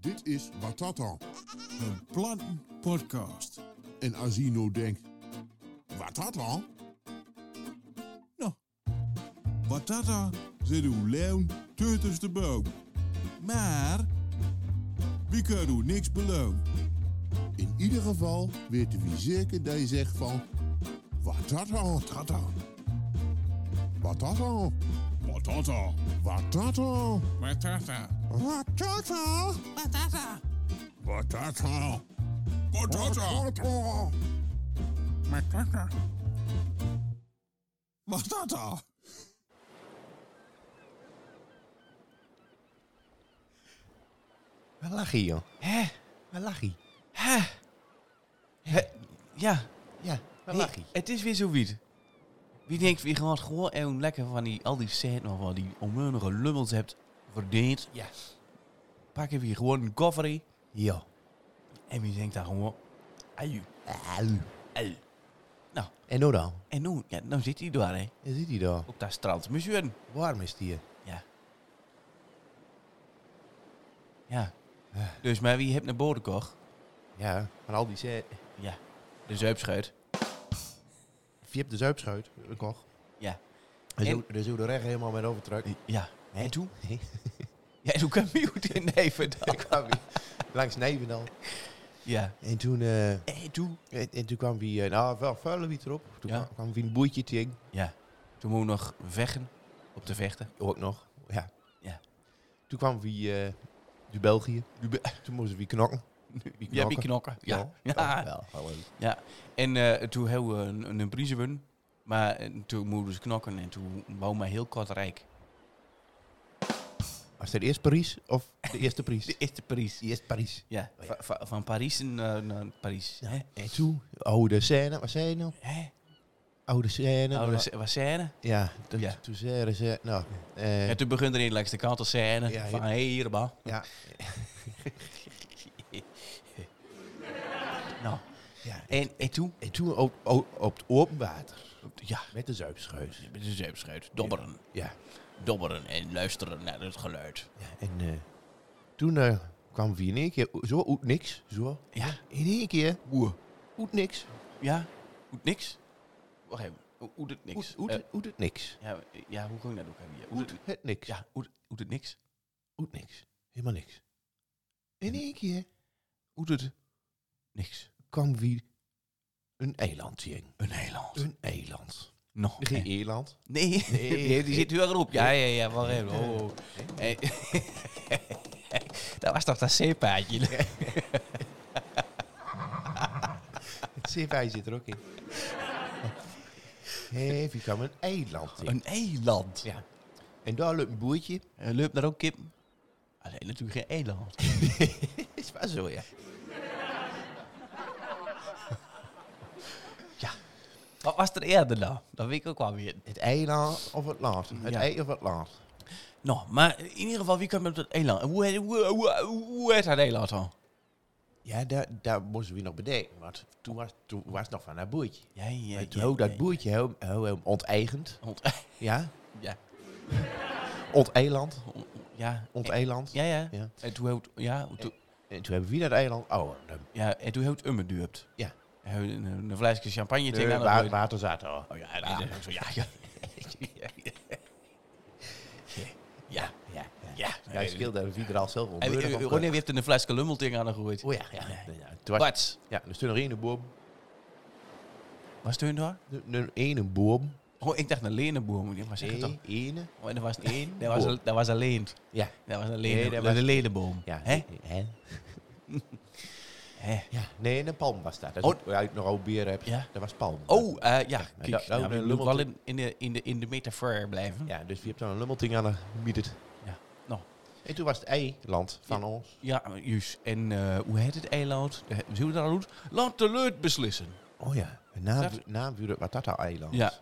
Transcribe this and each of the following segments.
Dit is Watata. Een plannen podcast. En Asino denkt, Watata? Nou, Batata zit uw leeuw tussen de boom. Maar, wie kan u niks beloon. In ieder geval weten we zeker dat je zegt van, Watata, tata. Watata, Batata. Watata, Batata. Watata, Batata. Watata, Batata. Watata. Batata. Batata. Waar lag hij, joh? Hè? Waar lag hij? Hè, ja, Ja, waar Nee, lag hij? het is weer zo wiet. Wie denkt, wie gewoon gewoon even lekker van die, al die set nog wel die onmeunige lummels hebt verdeeld. Ja. Pak even hier gewoon een kofferie. Ja. En wie denkt daar gewoon, ui, ui. En nou dan? En nu, ja, nou zit hij daar, hè. Daar zit hij daar. Op dat strand. Monsieur. Warm is die hier. Ja. Ja. Ah. Dus, maar wie hebt naar boven gekocht? Ja, van al die zee. Ja. De zuipschuit. Je hebt de zuipschuit, ik nog. Ja. Daar En- zou- Daar zou de recht helemaal met overtrek. Ja. Hè? En toen? Nee. Ja, toen kwam Mute in Nijverdal. Ik kwam hier langs Nijvendal. Ja. En toen, eh, en, En toen? en toen kwam wie, eh, nou wel vuile wiet erop. Toen Ja. kwam- kwam wie een boertje tegen. Ja. Toen moest nog vechten. Op te vechten. Ook nog. Ja. Ja. Toen kwam wie eh uit België. Toen moesten we knokken. Wie Ja, wie knokken. Ja. Ja. Ja. Wel, hallo. En eh, toen hebben we een, een prijs gewonnen. Maar eh, toen moesten dus knokken en toen wou mij heel kort rijk. Was dat eerst Parijs of de eerste prijs? De eerste prijs. Die eerst Parijs. Ja, Oh ja. va- va- van Parijs naar, naar Parijs. Ja. Hè? En toen, oude scène, wat zei je nou? Hè? Oude scène. Nou, maar- dat was scène. ja, toen- Ja. toen zeiden ze, nou, eh, En toen begon er in langs de kant te scène. Ja, van, ja. hé, hier, man. ja, Nou, ja. en, en toen? En toen op, op, op het open water, Ja, met de zuipschuis. met de zeepschuit. Dobberen. Ja, Dobberen en luisteren naar het geluid. ja. en eh, toen eh, kwam we in één keer, zo, uit niks, zo, Ja, in één keer, oeh. uit niks, Ja, hoed niks. Wacht even, hoe hoe het niks? uit uit- Eh, uit het niks, ja, ja, hoe kan ik dat ook hebben? Ja, hoe uit het- het niks, Ja, hoe hoe het niks? uit niks, helemaal niks. In één keer Hoe het niks? kwam wie een eiland zien. Een eiland. Een eiland. Nog Geen een. eiland. Nee, Nee. die zit heel erop. Ja, ja, ja, wacht even. Oh. Hey. dat was toch dat zeepaardje? Het CV zit er ook in. Hé, wie kwam een eiland in? Een eiland. Ja. En daar loopt een boertje. En loopt daar ook kip? Alleen natuurlijk geen eiland. Is waar zo, ja. Wat was er eerder dan? Dat weet ik ook wel weer. Het eiland of het land? Het Ja. ei of het land? Nou, maar in ieder geval, wie kwam op dat eiland? En Hoe heet, hoe, hoe, hoe heet dat eiland dan? Ja, daar, daar moesten we nog bedenken. Want toen was, toen was het nog van dat boertje. Ja, ja, Maar toen ook dat boertje heel, heel, heel onteigend. Ont- Ja, Ja. onteiland. on- Ja. Onteiland. Ja, ja. Ja. En toen houdt... Ja, toen- En toen hebben we weer dat eiland. Oh, de, ja, en toen houdt Umme duurt. Ja. En houdt een, een flesje champagne de, tegenaan. wa- water zat er. Oh ja, dat is ook zo. Ja, ja. Ja, Ja, ja. ja. Ja, het scheelde dat we er al zelf En, eh, ontbeuren. Ronnie heeft er een flesje lummel tegenaan gegooid. Oh ja, ja. ja. Toen was- Wat? Ja, er stond nog één boom. Was toen daar? Een- Een ene boom. Oh, ik dacht een lenenboom. Ik was Nee, echt toch? ene. Oh, en dat was Eén één. Dat was, boom. een- dat was een leent. Ja. Dat was een Nee, lenen, dat dat was- was een ledenboom. Ja. Hè? Hè? Hè? Ja. Nee, een palm was dat. dat Oh. oh. Waar ik nog oud bier heb. Ja. Dat was palm. Oh, eh, ja. maar Kijk, dat- dat nou, een we lummel moeten wel in, in, de, in, de, in de metafoor blijven. Ja, dus wie hebt dan een lummelting aan gemieted. Ja. Nou, En toen was het eiland van ons. ja, juist. En eh, hoe heet het eiland? De- Zullen we dat al doen? Laat de leut beslissen. Oh ja. Een naam, Dat- naamvuur, wat dat al eiland. Ja.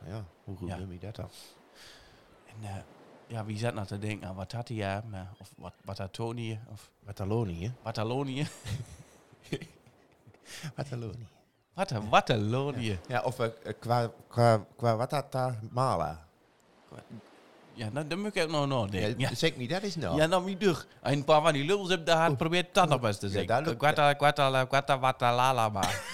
Hoe goed Ja. noem je dat dan? En eh, ja, wie zat nou te denken aan Watatia, maar- of wat, Watatonië, of Watalonië. Watalonië? Watalonië. Wat Watalonië. Ja, of eh, eh, qua, qua, qua Watatamala. Ja, dat, dat moet ik ook nog Ja, nadenken. Ja. Zeg niet, dat is nou. Ja, nou, niet terug. Als je een paar van die lubbels hebt, dan had probeert dat nog best te zeggen. dat lukt. Quatta, quatta, la- quatta, watta, la, la, maar.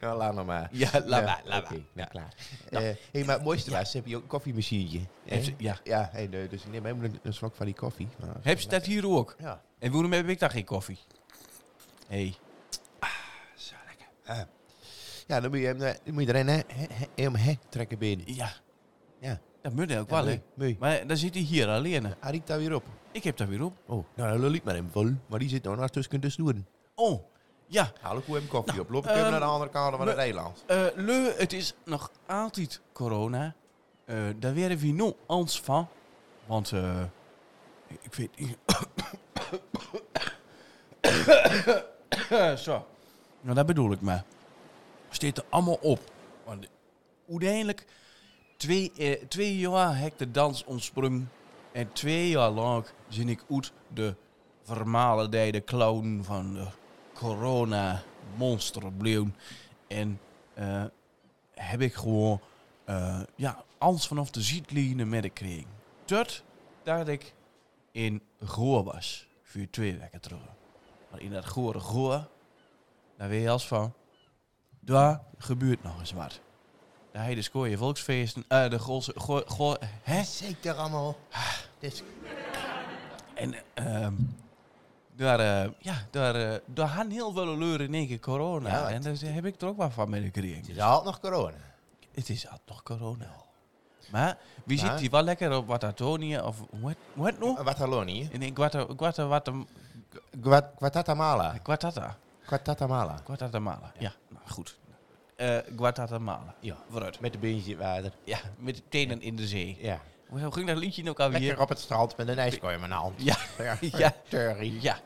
Nou, laat nog maar. Ja, laat maar, laat maar. Oké, nou, klaar. Eh, hey, maar het mooiste was, ze hebben je ook een koffiemachientje. Heb hè? ze- ja. Ja, en, eh, dus ik neem helemaal een, een slok van die koffie. Maar, Heb je dat hier ook? Ja. En waarom heb ik daar geen koffie? Hé. Hey. ja, dan moet je hem eh, dan moet je erin hè, hè, hè, hem hè, trekken binnen. Ja. Ja. Dat moet ook Ja, wel, mooi, hè. mooi. Maar dan zit hij hier alleen. Hij riekt daar weer op. Ik heb dat weer op. Oh, nou, dan liep maar hem vol. Maar die zit nou naast tussen de snoeren. Oh, ja. Haal ik hoe hem koffie op. Loop ik hem ehm, naar de andere kant van het we- eiland. Eh Leu, het is nog altijd corona. Eh, daar werden we nog ans van. Want, eh, ik weet niet... Zo. Nou, dat bedoel ik maar. Steekt er allemaal op. Want uiteindelijk, twee, eh, twee jaar heb ik de dans ontsprong. En twee jaar lang zin ik uit de vermalendijde clown van de corona monster bleven. En eh, heb ik gewoon eh, ja, alles vanaf de zietlijnen medekregen. Tot dat ik in Goor was. Voor twee weken terug. Maar in dat gore Goor, daar weet je als van, daar gebeurt nog eens wat. Daar heb je de Gooie volksfeesten, eh, de Goorse, Goor, Goor, hè? Zeker allemaal. Dus, En ehm, daar, eh, ja, daar, eh, daar gaan heel veel leuren in één keer corona. Ja, en het- daar heb ik er ook wat van medekregen. het is altijd nog corona. Het is altijd nog corona. Maar wie Maar- zit die wel lekker op Watatonië of wat wat nog? Watalonië. In een Guata, Guata, Guata, Gua- Guatatamala. Guatata, Guatatamala. Guatamala. Ja, nou goed. Eh Guatamala. Ja. Vooruit. Met de beentje in het water. Ja, met de tenen in de zee. Ja. Hoe hoe ging dat liedje nou alweer? Lekker op het strand met een ijskooi in mijn hand. Ja, ja. Terry. Ja.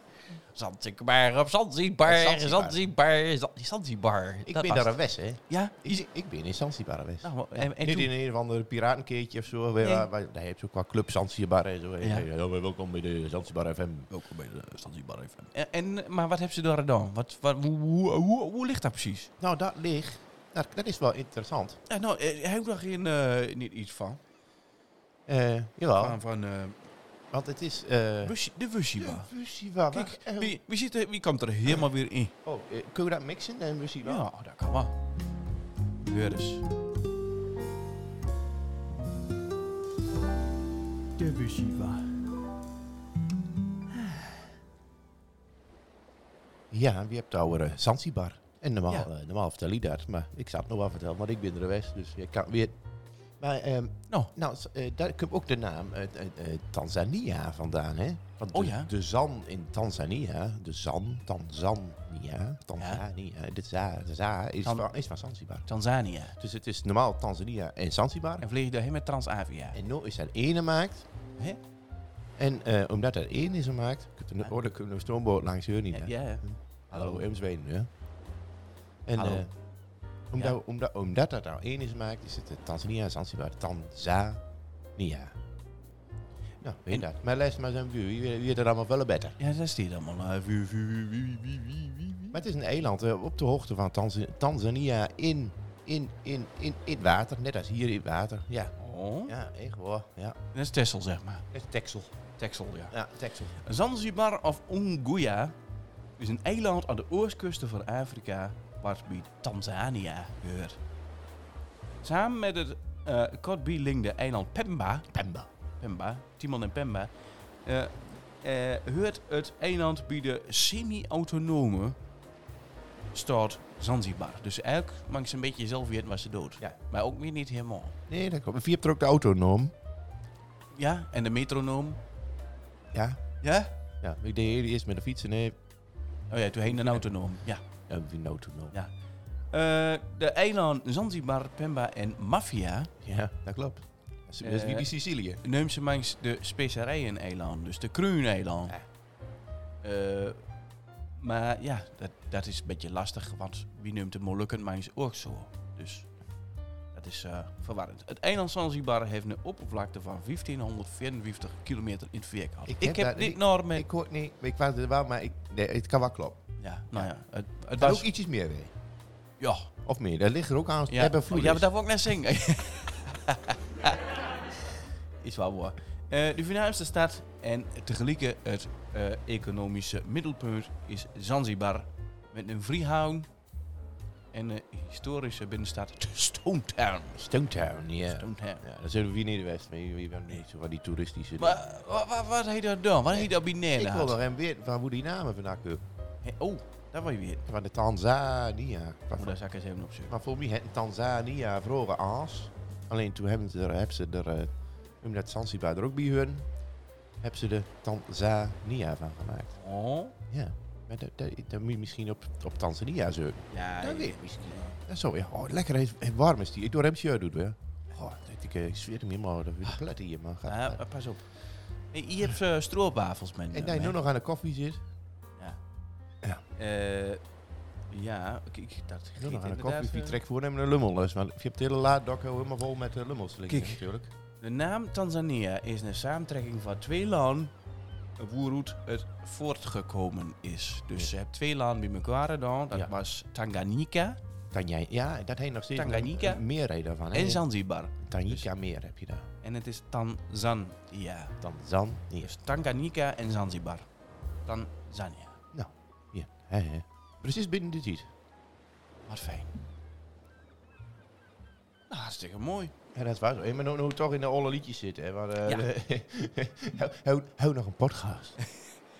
Zanzibar op Zanzibar, Zanzibar. Zanzibar, Zan- Zanzibar. Ik Dat ben was- daar een west, hè? Ja? Ik, ik ben in Zanzibar geweest. Nou, maar- en, en Niet toen, in een of andere piratenkeertje of zo. Waar, Nee. waar, waar- daar heb je ook qua club Zanzibar en zo. Ja. Oh. Ja. welkom bij de Zanzibar FM. Welkom bij de Zanzibar FM. En, en- maar wat hebben ze daar gedaan? Wat, wat, hoe, hoe, hoe, hoe ligt dat precies? Nou, dat ligt. Dat, dat is wel interessant. Ja, nou, eh, heb ik daar geen, eh, niet iets van? Eh jawel, Van, van eh, want het is... eh Wushi- de Wushiba. ja, Wusiwa, Kijk, waar- eh, wie, wie, zit er, wie komt er helemaal weer in? Oh, eh, kun je dat mixen en Wusiwa? Ja, dat kan wel. Heur eens. De Wushiba. Ja, wie hebt daar eh, Zanzibar. En normaal, Ja. eh, normaal vertel je dat, maar ik zou het nog wel vertellen, want ik ben er west, dus ik kan weer... Maar, ehm Nou. nou s- eh, daar komt ook de naam eh, eh, eh, Tanzania vandaan, hè? Want de, Oh ja. de zan in Tanzania, de zan, Tanzania, Tanzania, de za, de za is, Tan- van, is van Zanzibar. Tanzania. Dus het is normaal Tanzania en Zanzibar. En vlieg je daarheen met Transavia. En nu is er één gemaakt. Hè? En eh, omdat er één is gemaakt, kunt er, oh, dan kunnen we een stoomboot langs hier niet. Ja, hè? ja. Hallo, in Zweden, hè? En Hallo. eh, omdat, Ja. omdat, omdat dat nou één is gemaakt, is het eh, Tanzania en Zanzibar. Tanzania. Nou, weet En- dat. Maar luister maar zo'n wie, wie, wie er allemaal wel beter. Ja, dat is die dan allemaal. eh, vu- vu- vu- wie- wie- wie- wie- wie. Maar het is een eiland eh, op de hoogte van Tanz- Tanzania in, in, in, in, in het water. Net als hier in het water. Ja, Oh, ja echt hoor. Ja, dat is Texel, zeg maar. het is Texel. Texel, ja. Ja, Texel. Zanzibar of Unguja is een eiland aan de oostkusten van Afrika, wat bij Tanzania hoort. Samen met het eh kortbijlingde eiland Pemba, Pemba. Pemba, Timon en Pemba, eh eh, hoort het eiland bij de semi-autonome staat Zanzibar. Dus eigenlijk mag ze een beetje zelf weten waar ze dood. Ja. Maar ook weer niet helemaal. Nee, dat klopt. Wie hebt er ook de autonoom? Ja, en de metronoom. Ja. Ja? Ja, ik deed eerst met de fiets en nee. Oh ja, toen heen een autonoom. Ja. Ja, wie een autonoom? Ja. Eh, de eiland Zanzibar, Pemba en Mafia Ja, dat klopt. Dat is, dat is Eh, wie die Sicilië. neemt ze langs de specerijen-eiland, dus de kruineiland. Ja. Eh, maar ja, dat, dat is een beetje lastig, want wie neemt de Molukken langs ook zo? Dus dat is eh, verwarrend. Het eiland Zanzibar heeft een oppervlakte van 1554 kilometer in het vierkant. Ik, Ik heb heb daar- dit norm met... Ik hoor het niet, ik was er wel, maar ik, nee, het kan wel kloppen. ja, nou ja, het, het Er was was... ook ietsjes meer weer. Ja, Of meer, Oh, dat ligt er ook aan. Oh, ja. Hebben Oh, ja, maar dat wil ik net zingen. is wel waar. Eh, de voornaamste stad en tegelijk het eh, economische middelpunt is Zanzibar. Met een Freehound en een historische binnenstad de Stone Town. Stonetown, ja. Stone Town. Ja, dan zullen we hier in de West. Maar je bent niet zo van die toeristische... Maar wa- wa- wat heet dat dan? Wat heet dat dingen. binair ik wil gehad? nog even weten waar hoe die namen vandaan komen. Hey, oh, dat wil je weer. Van de Tanzania. Maar, Oh, voor- daar zak ik eens even op zoeken. maar voor mij had Tanzania vroeger aas. Alleen toen hebben ze er... Hebben ze er eh, omdat Zanzibar er ook bij hun... Hebben ze de Tanzania van gemaakt. Oh, Ja. Maar dat, dat, dat moet je misschien op, op Tanzania zo. ja. Dat ja. weet ik misschien. Dat zo, ja. Oh, lekker is, en warm is die. Ik doe hem zo doet, hè. Oh, dat ik, eh, ik zweer hem helemaal. Dat wil ik platten hier, man. Gaat- Ja, maar pas op. Hey, hier heb je eh, stroopwafels, eh, man. en dat je nu nog aan de koffie zit. Eh, ja, kijk, dat Nu gaat nog aan de inderdaad, koffie. Wie eh, trekt voor hem een lummel is. Want je hebt de hele laaddokko helemaal vol met eh, lummels liggen Kijk. natuurlijk. De naam Tanzania is een samentrekking van twee landen waaruit het voortgekomen is. Dus Ja. ze hebben twee landen bij elkaar gedaan. Dat Ja. was Tanganyika Dan jij, ja, dat heet nog steeds Tanganyika. een, een meerheid daarvan. hè. en Zanzibar. Tanganyika meer heb je daar. En het is Tanzania. Tanzan. Ja. Dus Tanganyika en Zanzibar. Tanzania. ja. hè, hè. Precies binnen de tijd. Wat fijn. Nou, hartstikke mooi. Ja, dat is waar. zo. Hey, maar nou, nou toch in de olle liedjes zitten. Hè, want, eh, Ja. hou, hou, hou nog een podcast.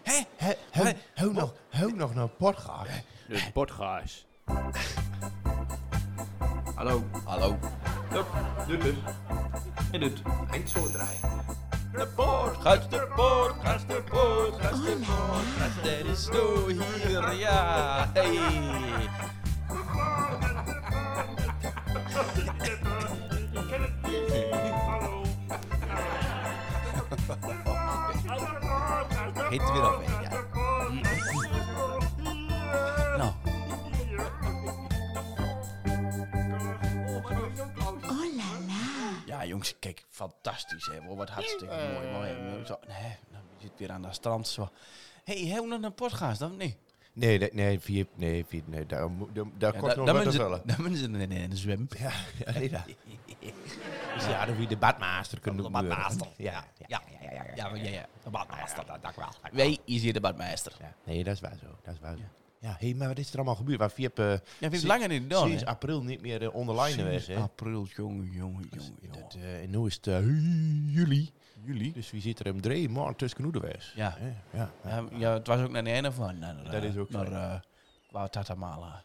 Hé? Hé, hou, Hé, hou, nog, hou nog een podcast. De podcast. Hallo. Hallo. Hup, doet het. En doet. Eind zo draaien. De Gaat podcast, de podcast, de podcast, de podcast. Dat is zo hier, ja. Hey. Heet het weer af, hè? ja. Nou, ja jongens, kijk, fantastisch hè. Wat hartstikke mooi. mooi hè. Zo, nee, nou, je zit weer aan dat strand zo. Hé, hey, hebben we nog een podcast dan? Nee. Nee, nee, nee, vier, nee, vier, nee, daar, moet- daar, daar Ja, kost da- nog dan wat te moeten ze- vullen. dan moeten ze in in de zwem. Ja, ja, nee, dat. Dus ja, dan wie de badmaster kunnen De gebeuren. badmaster. Ja, Ja, ja, ja, ja, ja, ja, ja. De badmeester. dat dank wel. Wij is hier de badmeester. Ja, nee, dat is waar zo, dat is waar zo. Ja, hé, maar wat is er allemaal gebeurd? Want Wie heb eh Ja, we sinds- hebben langer niet gedaan. sinds hè. april niet meer eh, online geweest, hè? Sinds april, jongen, jongen, jongen, jongen. Dat, eh, en nu is het eh, juli, Juli? dus wie zit er hem drie maanden tussen geweest? Ja. Ja, ja. Ja, ja, het was ook naar de einde van. Naar, eh, Dat is ook zo. Naar eh, qua Tatamala.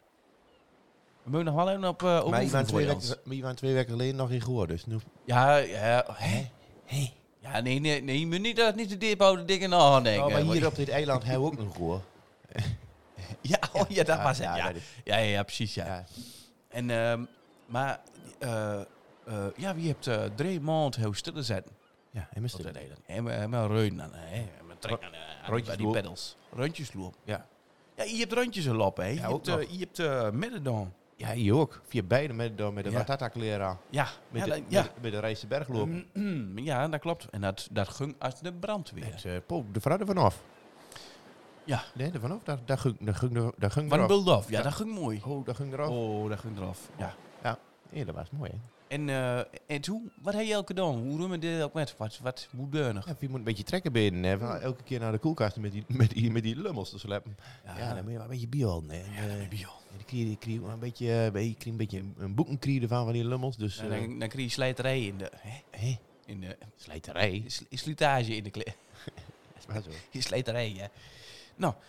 We moeten nog wel even op eh Maar je oefenen waren voor twee, Jans. weken- maar je waren twee weken geleden nog in Goor, dus nu... Ja, ja. Hé? Hé. Ja, nee, nee, nee. Je moet niet, dat niet te diep houden, dikke nadenken. Oh, maar hier Want- op dit eiland hebben we ook nog Goor. Ja, oh, ja, dat Ja, was het. ja, Ja, ja, dat is- ja, ja, precies, ja. Ja. En, ehm, maar, eh, eh, ja, wie hebt eh drie maanden heel stil te zetten? Ja, en Op dat Mr. eiland. En met- en met reun aan, hè. En met trekken aan, eh, Rondjes bij die lopen. pedals. Rondjes lopen. Ja. Ja, je hebt rondjes een lap, hè. je, ook hebt, eh, je hebt eh, midden dan. Ja, hier ook. Via beide met, de- met de Ja. Watata-kleren aan. Ja, Met, ja, de, dat- ja. Mm, met, met de Rijse Bergloop. ja, dat klopt. En dat, dat ging als de brandweer. Met, eh, Paul, de vrouw er vanaf. Ja. Nee, er vanaf. Daar, daar ging, daar ging, daar ging Van eraf. Buldof, ja, Ja. dat ging mooi. Oh, daar ging eraf. Oh, dat ging eraf. Ja. Ja, dat was mooi, hè? En, eh, en toen, wat heb je elke dag? Hoe doen we dit ook met? Wat, wat moet deunig? Ja, je moet een beetje trekken binnen. Hè? Mm. Van Elke keer naar de koelkast met die, met die, met die lummels te slepen. Ah, Ja, dan moet je wel een beetje biolen. hè. En, eh, dan krijg je- dan krijg je ook een beetje, eh, een beetje- een beetje een- een boekenkrie ervan van die lummels. Dus, En eh, dan, dan krijg je slijterij in de... Hè? hé, In de slijterij. sl- slijtage in de... kle- Dat is maar zo. in Slijterij, hè.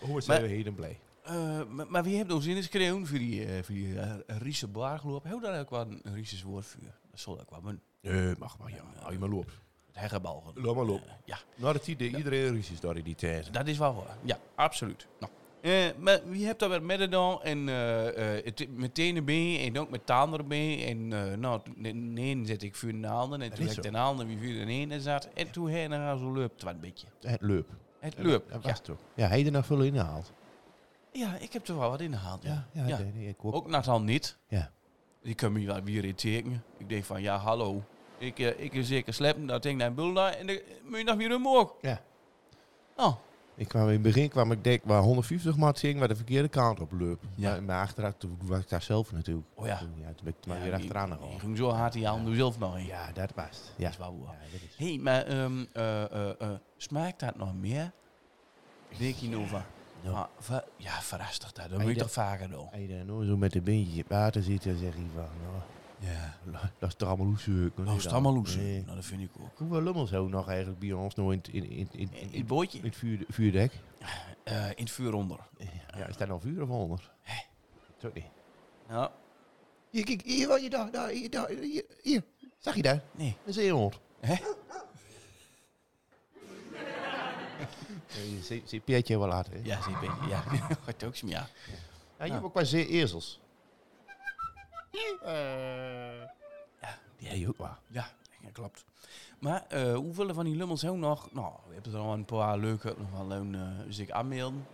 Hoe is Maar- hij heel blij? Eh, maar, maar wie heeft ons in geschreeuwd voor die, eh, voor die eh, Riese baargeloop? Heel daar ook wel een Riese woord voor. Dat zal ook wel een Nee, mag Eh, maar. Ja, hou je maar op. heggenbal. Loop maar op. ja. Nou, dat idee, iedereen ruzies door die tijd. Dat is wel waar. Ja, absoluut. Nou. Eh, maar wie hebt dat met Mededal en eh, eh, het- met tenen mee en ook met tanden mee. En eh, nou, toen- nee, nee, zet ik vuur in de handen. En toen is heb ik zo. de handen wie vuur in de ene zat. En toen heen en haar zo loopt wat een beetje. Het leup. Het loopt. Dat was Ja. het toch. Ja, hij er nog veel inhaalt. ja, ik heb er wel wat in gehaald. Ja. ja, Nee, nee, ik ook. Ook Natal niet. Ja. Die kan me wel weer in tekenen. Ik denk van, ja, hallo. Ik, eh, ik is zeker slepen, dat ding naar Bulda. En dan moet je nog weer omhoog. Ja. Nou, Ik kwam in het begin kwam ik denk waar 150 maat ging, waar de verkeerde kant op liep. Ja. Maar, maar achteruit toen was ik daar zelf natuurlijk. Oh ja. Toen, toen ben ik maar Ja, weer die- achteraan die nog. ging zo hard, die haalde zelf nog in. Ja, dat past. Ja. Dat is wel waar. Ja, dat is- Hé, hey, maar ehm, eh, eh, eh, smaakt dat nog meer? Denk je nou van? Ja. Ja, ver, ja verrast toch dat. Dat Hey, moet je dat- toch vaker doen? Als je daar nou zo met een beetje op water zit, dan zeg je van, nou, Ja. dat is toch allemaal loesjeuk. Nou, is het allemaal loes. Nee. Nou, dat vind ik ook. Eh, Hoeveel lummels hebben we nog eigenlijk bij ons nou in, het- in, in, in, In in, het in bootje, het vuur, vuurdek? eh, in het vuur onder. Ja, is daar nou vuur of onder? Zo niet. Ja, Hier, kijk, hier, wat je daar, daar, hier, daar, hier, hier. Zag je daar? nee. Een zeehond. Hè? Zie Pietje wel later. Ja, zie ben je. Ja, gaat ook smeer. Ja, je hebt ook wel zeeezels. Ja, je ook wel. Ja, dat klopt. Maar eh, hoeveel van die lummels hebben we nog? Nou, we hebben er al een paar leuke, nog wel een eh zich aanmelden.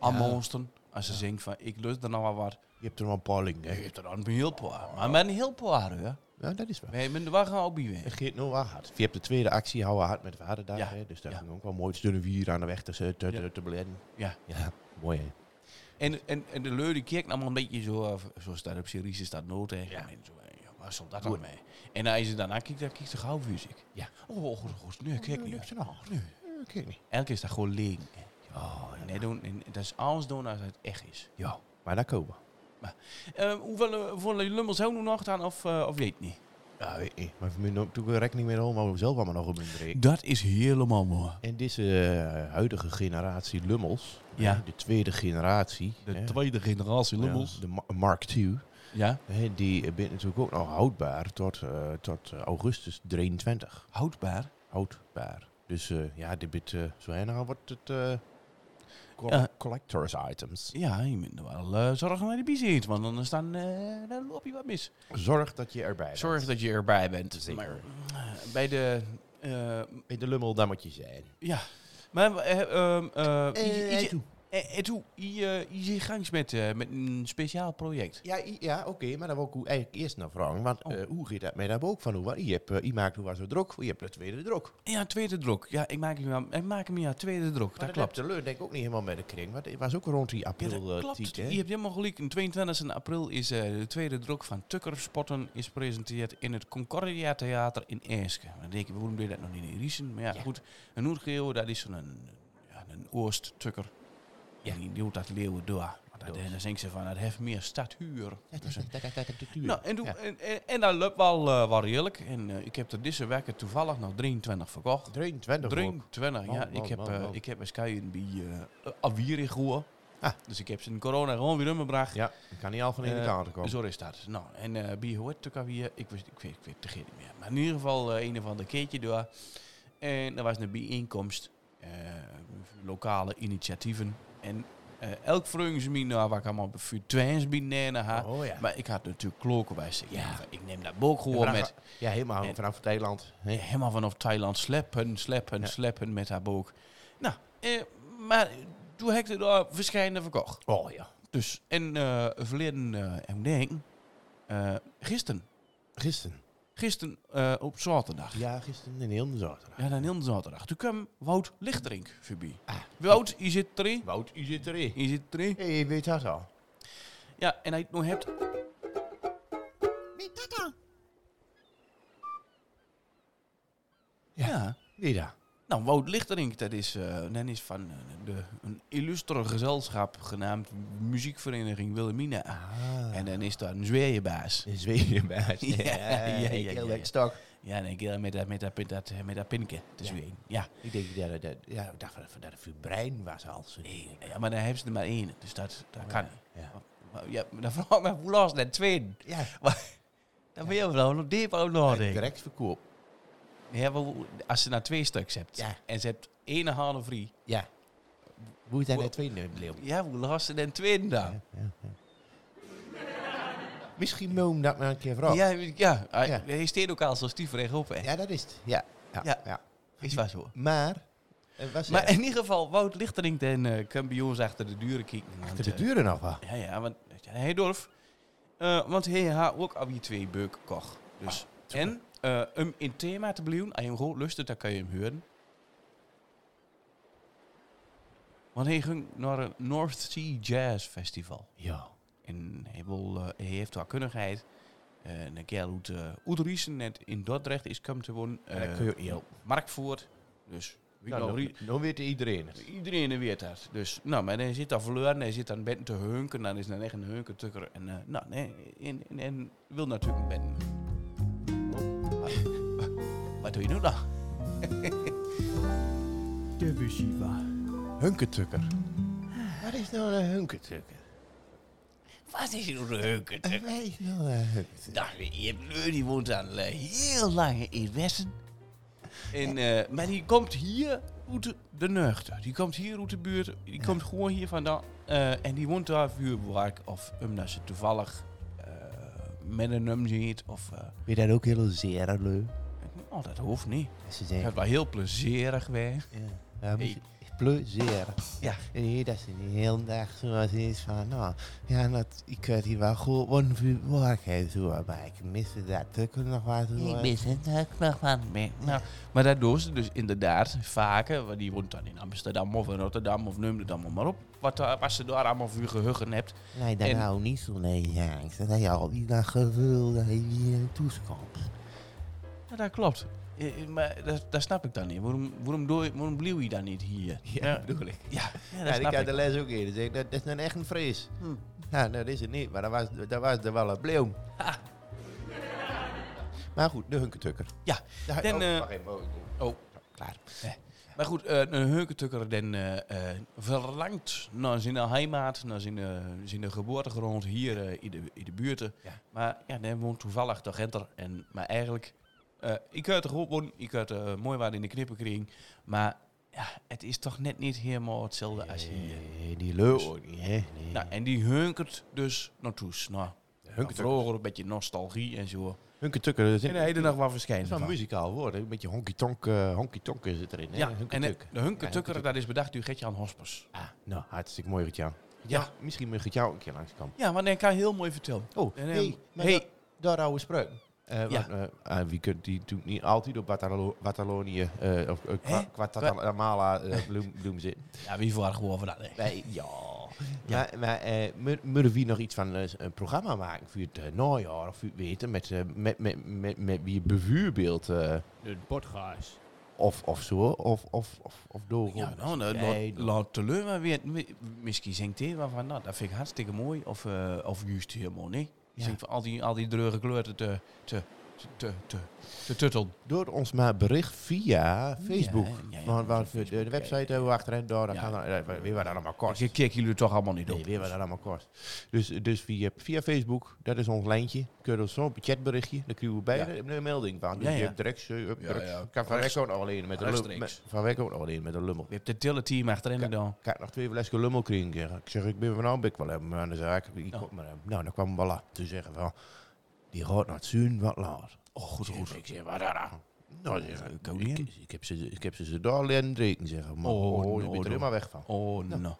Aanmonsteren. Als ze denken van, ik lust er nog wel wat. Je hebt er wel een paar liggen, Ja, je hè? hebt er dan een heel paar. Maar met een heel paar, hoor. Ja, dat is wel. We hebben de wagen al bij weer. Het geeft nou wel hard. Je hebt de tweede actie houden hard met Vaderdag. Ja. Hè? Dus dat Ja. ging ook wel mooi stunnen vier aan de weg te, te, te, Ja. te blenden. Ja. Ja, mooi hè. En, en, en de leur die kijkt allemaal een beetje zo, eh, zo staat op Syrië, staat nood tegen. En zo, eh, ja, waar stond dat dan mee? En als je daarna kijkt, dan kijkt ze gauw fysiek. Ja. Oh, oh, god, god, nee, kijk niet. Nee. Oké. Elke keer is dat gewoon leeg. nee, doen, en dat is alles doen als het echt is. Ja, maar daar komen we. Eh, hoeveel eh, voor de lummels hebben we nog dan of, eh, of weet niet? Ja, weet ik. Maar we ook toen rekening mee houden, maar we zelf allemaal nog op een break. Dat is helemaal mooi. En deze eh, huidige generatie Lummels, Ja. hè, de tweede generatie, hè, tweede generatie ja, de Ma- Mark II, Ja, hè, die eh, bent natuurlijk ook nog houdbaar tot, eh, tot eh, augustus 23. houdbaar. houdbaar. Dus eh, ja, dit bit, eh, zo hierna wordt het eh, co- Ja. collectors items. Ja, je moet er wel eh, zorgen dat je erbij zit, want anders dan, eh, dan loop je wat mis. Zorg dat je erbij bent. Zorg dat je erbij bent. Zeker. Maar, eh, bij de... eh, In de lummel, daar moet je zijn. ja. Maar... eh, ehm, eh, Eh, je- je- toe. eh, eh, toe, je eh, je zit gangs met, eh, met een speciaal project. Ja, i- ja oké, maar dan wil ik u eigenlijk eerst naar vragen. Want Oh. eh, hoe gaat dat met dat boek van hoe? Je, hebt, eh, je maakt hoe was het druk, je hebt de tweede druk. Ja, tweede druk. Ja, ik maak hem aan, ik maak hem ja, tweede druk. Maar dat klopt. De leur denk ik ook niet helemaal met de kring, want het was ook rond die Ja, dat april eh, klopt. tijd, Je hè? hebt helemaal gelijk. In 22 april is eh, de tweede druk van Tukkersporten is gepresenteerd in het Concordia Theater in Eeske. Dan denk je, waarom doe je dat nog niet in Riesen? Maar ja, goed. Een Noordgeo, dat is zo'n ja, een Oost-Tukker. Ja. Die doet dat leeuwen door. Maar dat, dan denken ze van, dat heeft meer stadhuur. Nou, en, toen, Ja. en, en, en dat loopt wel, eh, wel redelijk. En eh, ik heb er deze wekker toevallig nog 23 verkocht. 23 ook. 23, ja. Man, man, ik, heb, man, eh, man. ik heb mijn schuien bij eh Avier in Goor. Ah. Dus ik heb ze in corona gewoon weer umgebracht. Ja, ik kan niet al van in de Eh, kaart komen. Zo is dat. Nou, en eh bij hoort toen Avier, ik, wist- ik, weet, ik weet het niet meer. Maar in ieder geval eh, een of ander keertje door. En er was een bijeenkomst, eh, lokale initiatieven. En eh, elk vreugdesmin, nou, waar ik allemaal voor twins binnen had. Oh ja. Maar ik had natuurlijk klokken bij ze. Ja, ik neem dat boek gewoon Vanaf- met. ja, helemaal en- vanaf Thailand. hè? Ja, helemaal vanaf Thailand sleppen, sleppen, Ja. sleppen met haar boek. Nou, eh, maar toen heb ik er daar verschillende verkocht. Oh ja. Dus, en eh verleden, eh en denk, eh gisteren, Gisteren. gisteren eh, op zaterdag. Ja. Ja, gisteren in heel de zaterdag. dan heel de zaterdag. Toen kwam Wout Lichterink voorbij. Ah. Wout, je zit drie. Wout, u zit erin. Je zit drie. Hé, hey, weet dat al? Ja, en hij het nog hebt. Ja. Wie daar? Nou, Wout Lichterink, dat is, eh, dat is van eh, de, een illustre gezelschap genaamd Muziekvereniging Wilhelmina. Ah. En dan is daar een zweeënbaas. In Zweden bij. Ja, ja, ja, ik ja, heel ja. lekker stok. Ja, en ik eh, met dat, met dat, met dat, met dat pinneke, de Ja. zween. Ja. Ik denk dat het, dat- ja, ik dacht van- van dat het voor brein was al. zo. ja, maar daar hebben ze er maar één, dus dat, dat kan niet. Ja. Maar, ja, maar dan vraag ik me, hoe laat is dat twee? Ja, Dan wil je wel nog diep over nadenken. direct verkoop. Ja, maar hoe- als ze nou twee stuks hebt Ja. en ze hebt één halve vrij, Ja. Hoe is dat Wow. net twee neemt, Leeuw? ja, hoe laat is ze dan tweede dan? Misschien moet ik dat maar een keer vragen. Ja, Ja, ja, hij- Ja. hij steekt ook al zo stief rechtop, hè. dat is het. Ja. Ja. Ja. ja. Is waar zo. Maar, eh, was Maar er in ieder geval, Wout Lichterink en eh kan bij ons achter de deuren kijken. want, achter de eh, deuren nog wel? Ja, ja, want ja, hij durf. Eh, want hij had ook al die twee beuken kocht. Dus. Ah, en eh, om in thema te blijven, als je hem gewoon lustig, dan kan je hem huren. Want hij ging naar een North Sea Jazz Festival. Ja. En hij, wil, eh, hij heeft wel kundigheid. Eh, en een kerel uit, eh uit Riesen, net in Dordrecht, is komen te wonen. En dan Eh, kun je- ja. Markvoort. Dus wie Nou, nou dan, Rie- dan weet iedereen het. iedereen weet dat. Dus, nou, maar hij zit daar verloren, hij zit dan bent te hunken. Dan is dan echt een hunkentukker. En, eh, nou, nee, en, en, en wil natuurlijk een bent. Wat doe je nu dan? De Bushiba. Hunkentukker. Wat is nou een hunketukker? Wat is nou een hunkentukker? Wat is nou een hunketukker? Nou, je Leur die woont al eh, heel lang in Westen. En, eh, maar die komt hier uit de- de nuchter. Die komt hier uit de buurt. Die komt gewoon hier vandaan. Eh, en die woont daar vuurwerk. Of omdat ze toevallig eh, met een num ziet. Of, eh, Vind je dat ook heel zeer leuk? oh, dat hoeft niet. Ze Ik zijn... heb wel heel plezierig weer. Ja, ja moet je- plezier. Ja. En hier dat ze de hele dag zoals is van, nou, ja, dat, ik weet hier wel goed wat voor werk heeft, hoor, maar ik mis dat ook nog wat, hoor. het ook nog van mee. Nou, maar dat doen ze dus inderdaad vaker. Want die woont dan in Amsterdam of in Rotterdam of noem het allemaal maar op. Wat, daar- wat ze daar allemaal voor gehuggen hebt. Nee, dat En- nou niet zo, nee, ja, ik zei, dat je al die dag gevoel dat je hier naartoe komt. Ja, dat klopt. Eh, eh, maar dat, dat snap ik dan niet. Waarom, waarom, doe je, waarom bleef je dan niet hier? Ja, bedoel ik. ja, ja, dat Ja, ik snap had ik. de Hm. les ook eerder gezegd, dat, dat is dan echt een vrees. Ja, dat is het niet, maar dat was, dat was er wel een bleeuw. Maar goed, de hunketukker. Ja, Daar- dan, oh, eh, wacht even, oh, ik- oh. Klaar. Maar goed, eh, een heukentukker dan eh, eh, verlangt naar zijn heimaat, naar zijn, eh, zijn geboortegrond hier eh, in, de, in de buurt. Maar ja, dan woont toevallig de Genter. En, maar eigenlijk, eh, ik uit de groep woon, ik uit eh mooi waar in de knippenkring. Maar ja, het is toch net niet helemaal hetzelfde als hier. Nee, die leuk ook niet, hè? Nee. Nou, en die hunkert dus naartoe. Nou, hunkert vroeger een beetje nostalgie en zo. Hunketukker, dat is En de hele dag wel verschijnen. zo'n van. muzikaal woord. hè. Een beetje honky-tonk eh, honky-tonk zit erin, hè? Ja, en eh, de, Hunketuk. de hunkertukker, dat is bedacht door Gertjan Hospers. Ah, nou, hartstikke mooi, Gertjan. Ja. Ja, misschien mag Gertjan ook een keer langskomen. Ja, want hij kan heel mooi vertellen. Oh, En, ehm, hey, maar hey. dat- daar oude spreuk. Eh, Ja. want, eh, eh, wie kunt die natuurlijk niet altijd op Batalo- Batalonië eh, of eh, Hè? Kwa- Quatatamala eh, bloem, bloem zitten. Ja, wie verwacht gewoon van dat? nee. Wij, ja. Maar, maar eh, mu- moeten we nog iets van eh, een programma maken voor het eh, najaar of voor het weten met, eh, met, met, met, met wie bijvoorbeeld eh, De podcast. of, of zo of, of, of, of door. Ja, nou, nou, Nee, laat, laat de leur maar weer. mi- Misschien zingt hij wel van, nou, dat vind ik hartstikke mooi. Of, eh, of juist helemaal niet. Ja. Ja. Zingt van al die, al die dreurige kleuren te, te, te, te, te, te tutteln. door ons maar bericht via Facebook. ja, ja, want want via de, de website eh, hebben we achterin door. Dan Ja. gaan we, eh, weer wat dat allemaal kost. Ik kijk jullie toch allemaal niet op. Nee, weer wat dat allemaal kost. Dus, dus via, via Facebook, dat is ons lijntje. Kun je ons zo'n chatberichtje, dan krijgen we bij een melding van. Dus Ja, je ja. hebt direct, zo, up, Ja, direct. ja. Kan van Rechts- Wekko nog alleen met een lummel. rechtstreeks. met- Van Wekko nog alleen met een lummel. Je hebt de teleteam achterin gedaan. Ik had nog twee flesjes lummel krijgen. Ik zeg, Ik zeg, ik ben van nou, ben ik wel hebben aan de zaak. Ik Ja. kom maar hebben. Nou, dan kwam Balla te zeggen van, die gaat naar het zuin wat laat. Oh, goed, goed. Ik zeg, wat dan? Nou, zeg, ik, kan ik, niet. ik heb ze, ik heb ze ze daar leren drinken, zeggen. Maar, Oh, oh, je no, bent er no. helemaal weg van. Oh, nou.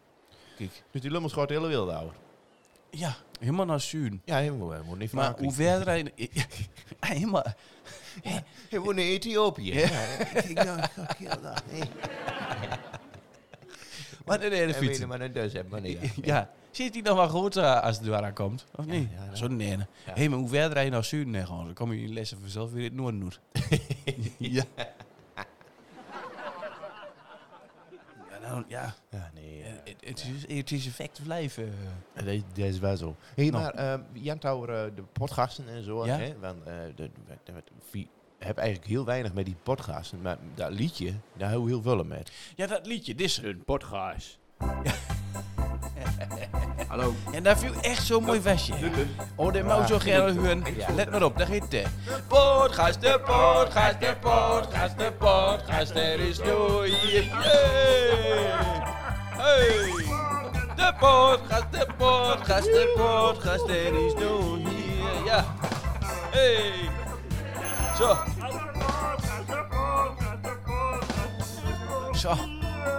Kijk. Dus die lummel schoot de hele wereld ouder. Ja, helemaal naar Zuun. Ja, helemaal, helemaal niet van Maar hoe verder hij... Ja, Helemaal... Hij woont in Ethiopië. Wat een hele En weet je fietsen. maar een dus hebben, wanneer. Ja. Zit hij dan wel goed eh, als het daar komt? Of niet? ja, ja. Zo'n nene. Hé, hey, maar hoe verder hij naar Zuiden nee, gewoon, Dan kom je in lessen vanzelf weer in het noorden doet. ja. ja, nou, ja. Ja, nee. Eh, Het, het is, het is eh. effect blijven. eh, Dat is, dat is wel zo. Hé, hey, Nou. maar ehm, Jan Touwer, eh, de podcasten en zo. Ja? Hè, want eh, de, de, de- de- vi- heb eigenlijk heel weinig met die podcasten. Maar dat liedje, daar hou ik heel veel met. Ja, dat liedje, dit is... De podcast. Hallo, En daar viel echt zo'n mooi vestje. de pup. Oh, dit moet zo gerne huren. Let maar op, daar gaat het. Podcast, de podcast, de podcast, de podcast, er is nooit. Hey! Hey! De podcast, de podcast, de podcast, er is nooit. Ja. Hey! Zo. Zo.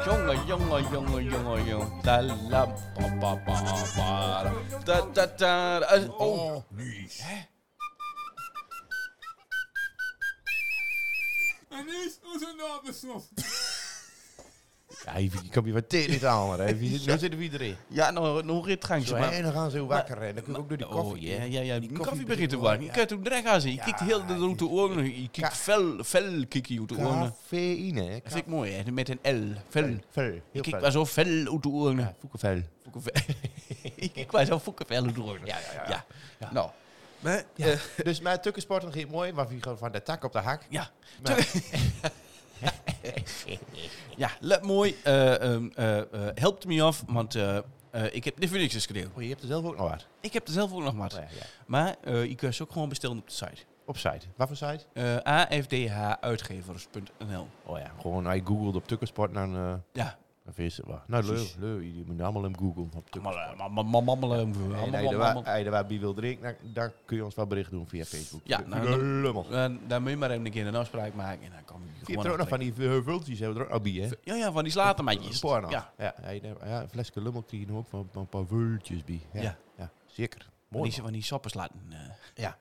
Jongen, jongen, jongen, jongen, jongen. Da la pa pa pa pa. Da da da. da. Oh. Oh, nice. En is onze naam besloten. Ja, even, ik heb je wat tegen dit allemaal. Even, Nu zitten we erin. Ja, nou, nog een Zo, gangje. en dan gaan ze heel wakker. En dan kun je ook door die koffie. Oh, ja, ja, ja. Die koffie, koffie begint te begint warm. te Je kijkt hoe dreig aan zien. Je Ja, kijkt heel de het route is- de oren. Je kijkt Ka- fel, fel kijk je uit de eh, oren. Cafeïne. hè? Dat vind ik mooi, hè? Met een L. Fel. Fel. Je Heel kijkt fel. maar zo fel uit de oren. Ja, Foekenvel. Foekenvel. Je kijkt maar zo foekenvel uit de oren. Ja, ja, ja. Nou. Maar, ja. Dus maar tukkensport nog heel mooi, maar wie gewoon van de tak op de hak. ja. Maar- Ja, let mooi. eh, ehm, eh, eh, helpt me af, want eh, eh, ik heb de Phoenix is gedeeld. Oh, je hebt er zelf ook nog wat. Ik heb er zelf ook nog wat. Oh, ja, ja. Maar eh, je kunt ze ook gewoon bestellen op de site. Op site. Wat voor site? Eh, afdhuitgevers.nl Oh ja, gewoon hij googelt op tukkensport dan, eh Ja, dan vind je het wel. Nou, leuk, leuk. Je moet allemaal hem googlen op tukkensport. mammelen, mammelen, mammelen, En mammelen, als je er wa- mammelen. als je er wat bij wil drinken, dan, dan kun je ons wat bericht doen via Facebook. Ja, nou, nou, dan- lummel. Eh, Daar moet je maar even een keer een afspraak maken en dan kan je Je gewoon... hebt er ook nog afspreken. van die eh, vultjes, hebben we er ook nog bij, hè? Ja, ja, van die slatermaatjes. Porno. Ja, Ja, ja, je neemt- ja, een flesje lummel krijg je ook van van een paar vultjes bij. Ja, Ja. ja. zeker. van Mooi. die, van die sapperslaten. eh, Ja.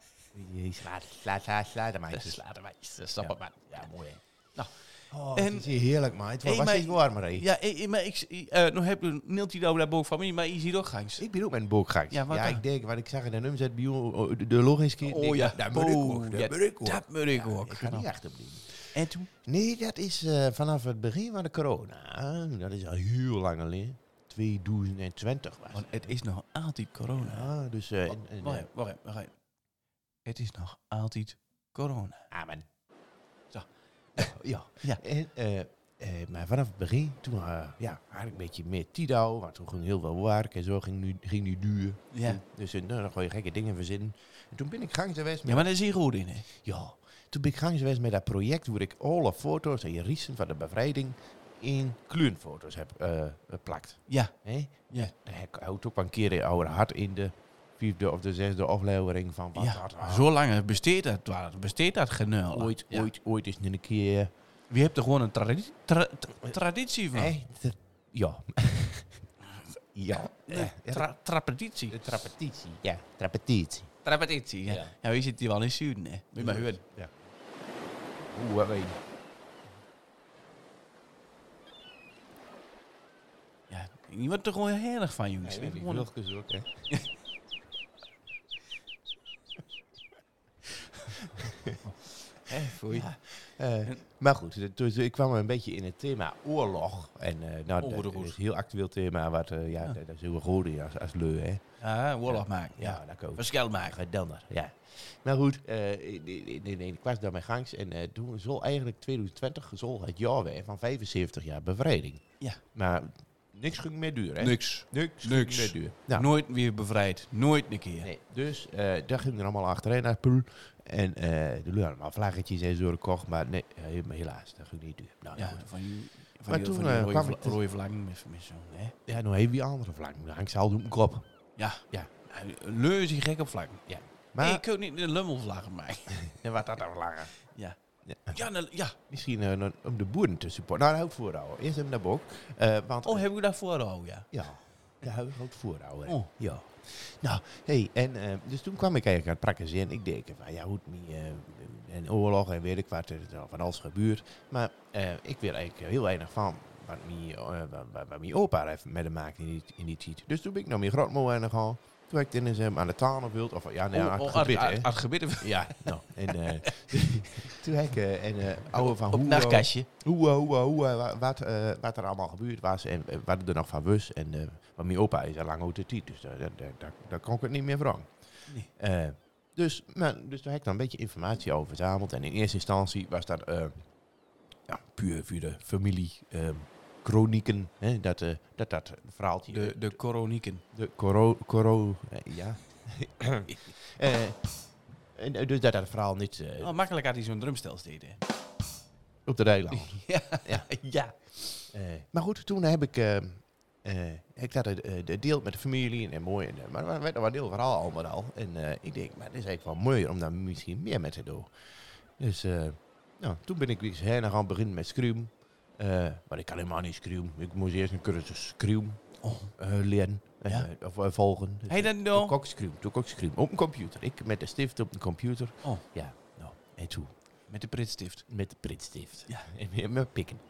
Slaat, slaat, slaat, slaat de meisjes. slatermaatjes, eh, sappermaat. Ja, mooi. Nou, Oh, en- het is hier heerlijk, man. Het Hey, was maar- steeds warmer, hè? Ja, eh, eh, maar ik... eh, nog heb je Nilt die daar boven familie, maar je ziet ook gangs. Ik ben ook met een boek Ja, wat Ja, dan? ik denk, wat ik zag in de nummer zet bij jou, oh, de- de logisch keer. Oh ja, dat moet ik ook. Oh, Dat ja, moet ik ook. Dat moet ik ook. Ik ga Nou, niet achterblijven. En toen? Nee, dat is eh, vanaf het begin van de corona. Dat is al heel lang alleen. 2020 was Want het. het is nog altijd corona. Ja, dus... eh, en- en, Wacht even, wacht even, wacht even. Het is nog altijd corona. eh, amen. Zo. Ja. Ja. En, eh, eh, maar vanaf het begin, toen eh, ja, had ik een beetje meer Tido. Want toen ging heel veel werk en zo ging nu, ging nu duur. Ja. Dus eh, nou, dan gooi je gekke dingen verzinnen. En toen ben ik gang geweest met Ja, maar daar is hij goed in, hè? Ja, toen ben ik gang geweest met dat project waar ik alle foto's en riesen van de bevrijding in kleurenfoto's heb eh, geplakt. Ja. Hè? Ja. Daar heb ik ook een keer in oude hart in de vierde of de zesde aflevering van wat ja. dat was. ah. Zo lang besteedt dat, waar het besteedt dat genul. Ooit, Ja. ooit, ooit is het een keer... Wie hebt er gewoon een tradi- tra- tra- traditie van? Eh, hè, ter- ja. ja. Nee, tra- Trapetitie. De trapetitie. Ja, trapetitie. Trapetitie, ja. Ja. Ja, wie zit hier wel in het Zuiden, hè? Moet je maar horen. Oeh, wat eh, weet je. Ja, je wordt er gewoon heel erg van, jongens. Nee, die Gewoon- vlugjes ook, hè. Hè, foei. Eh, maar goed, de- dus ik kwam een beetje in het thema oorlog. En eh, nou, dat- Oorlog. dat is een heel actueel thema, wat, eh, ja, dat dat is heel goed in als, als leu, hè. Nou, Ja, Ah, oorlog maken. Ja. dat kan ook. Verschil maken. Eigen Denner, ja. Maar goed, eh, in- in- in- in- ik was daar mijn gangs en eh, toen zal eigenlijk 2020 zal het jaar weer van 75 jaar bevrijding. Ja. Maar niks ging meer duren, hè? Niks. Niks, Niks. dus ging meer duur. Nou, Nooit weer bevrijd. Nooit een keer. Nee, dus eh, daar ging er allemaal achterin naar Poel. En eh er waren allemaal vlaggetjes en zo gekocht. Maar nee, eh, maar helaas, dat ging niet duur. Nou, ja. Ja, van die, van Maar die, toen, van die eh, rode, kwam vla- ik te- rode vlang met, met zo'n... Hè? ja, nou heeft die andere vlag. Dan hangt ze al op mijn kop. Ja. Ja. Leu is hier gek op vlak. Ja. Maar ik kan niet een lummelvlag maken. en wat dat dan vlaggen? ja. Ja. Ja, nou, ja. Misschien eh, een- om de boeren te supporten. Nou, dat hou ik voorhouden. Eerst hem naar bok. Eh, want, Oh, heb ik daarvoor al, ja. Ja, daar hou ik ook voorhouden. Oh. Ja. Nou, hey, en eh, dus toen kwam ik eigenlijk aan het prakken zin. Ik denk van, ja, hoe het niet, eh, en oorlog en weet ik wat, er is al van alles gebeurt. Maar eh, ik weet eigenlijk heel weinig van wat mijn, eh, wat, wat- wat mijn opa heeft met hem maakt in die, in die tijd. Dus toen ben ik naar mijn grootmoeder en gegaan. Toen heb ik het in hem aan de tafel wild of ja, nee, Oh, aan oh, het aan- gebit, aan- hè. aan het gebit. Ja, nou, en eh, toen heb ik, eh, en eh, oude van Op Hoero- nachtkastje. hoe, eh, hoe, eh, hoe, eh, wa- wat, eh, wat er allemaal gebeurd was en eh, wat ik er nog van wist. En eh, want mijn opa is al lang uit de tijd, dus daar, daar, daar, daar- daar kon ik het niet meer van. Nee. Eh, dus, maar, dus daar heb ik dan een beetje informatie over verzameld. En in eerste instantie was dat eh, ja, puur via de familie, eh, chronieken, hè, dat, eh, dat dat verhaaltje... De, de koronieken. De coro... coro eh, ja. Eh, en, eh, dus dat dat verhaal niet eh, Oh, makkelijk had hij zo'n drumstel steden. op de Rijlaan. ja. Eh, maar goed, toen heb ik... eh eh, ik had het eh, deelt met de familie en, en mooi. En, eh, maar het werd nog wel een heel verhaal allemaal al. En eh, ik denk, maar het is eigenlijk wel mooier om daar misschien meer met te doen. Dus eh, nou, toen ben ik weer eens heen gaan beginnen met scrum. Eh, maar ik kan helemaal niet scrum. Ik moest eerst een cursus scrum Oh. eh, leren. eh, Ja? of eh, volgen. Dus Hey, ik- dan nou. Toen kon ik scrum, toen kon ik scrum. Op een computer. Ik met de stift op een computer. Oh. Ja, nou, en toen. Met de pritstift. Met de pritstift. Ja. En weer met pikken.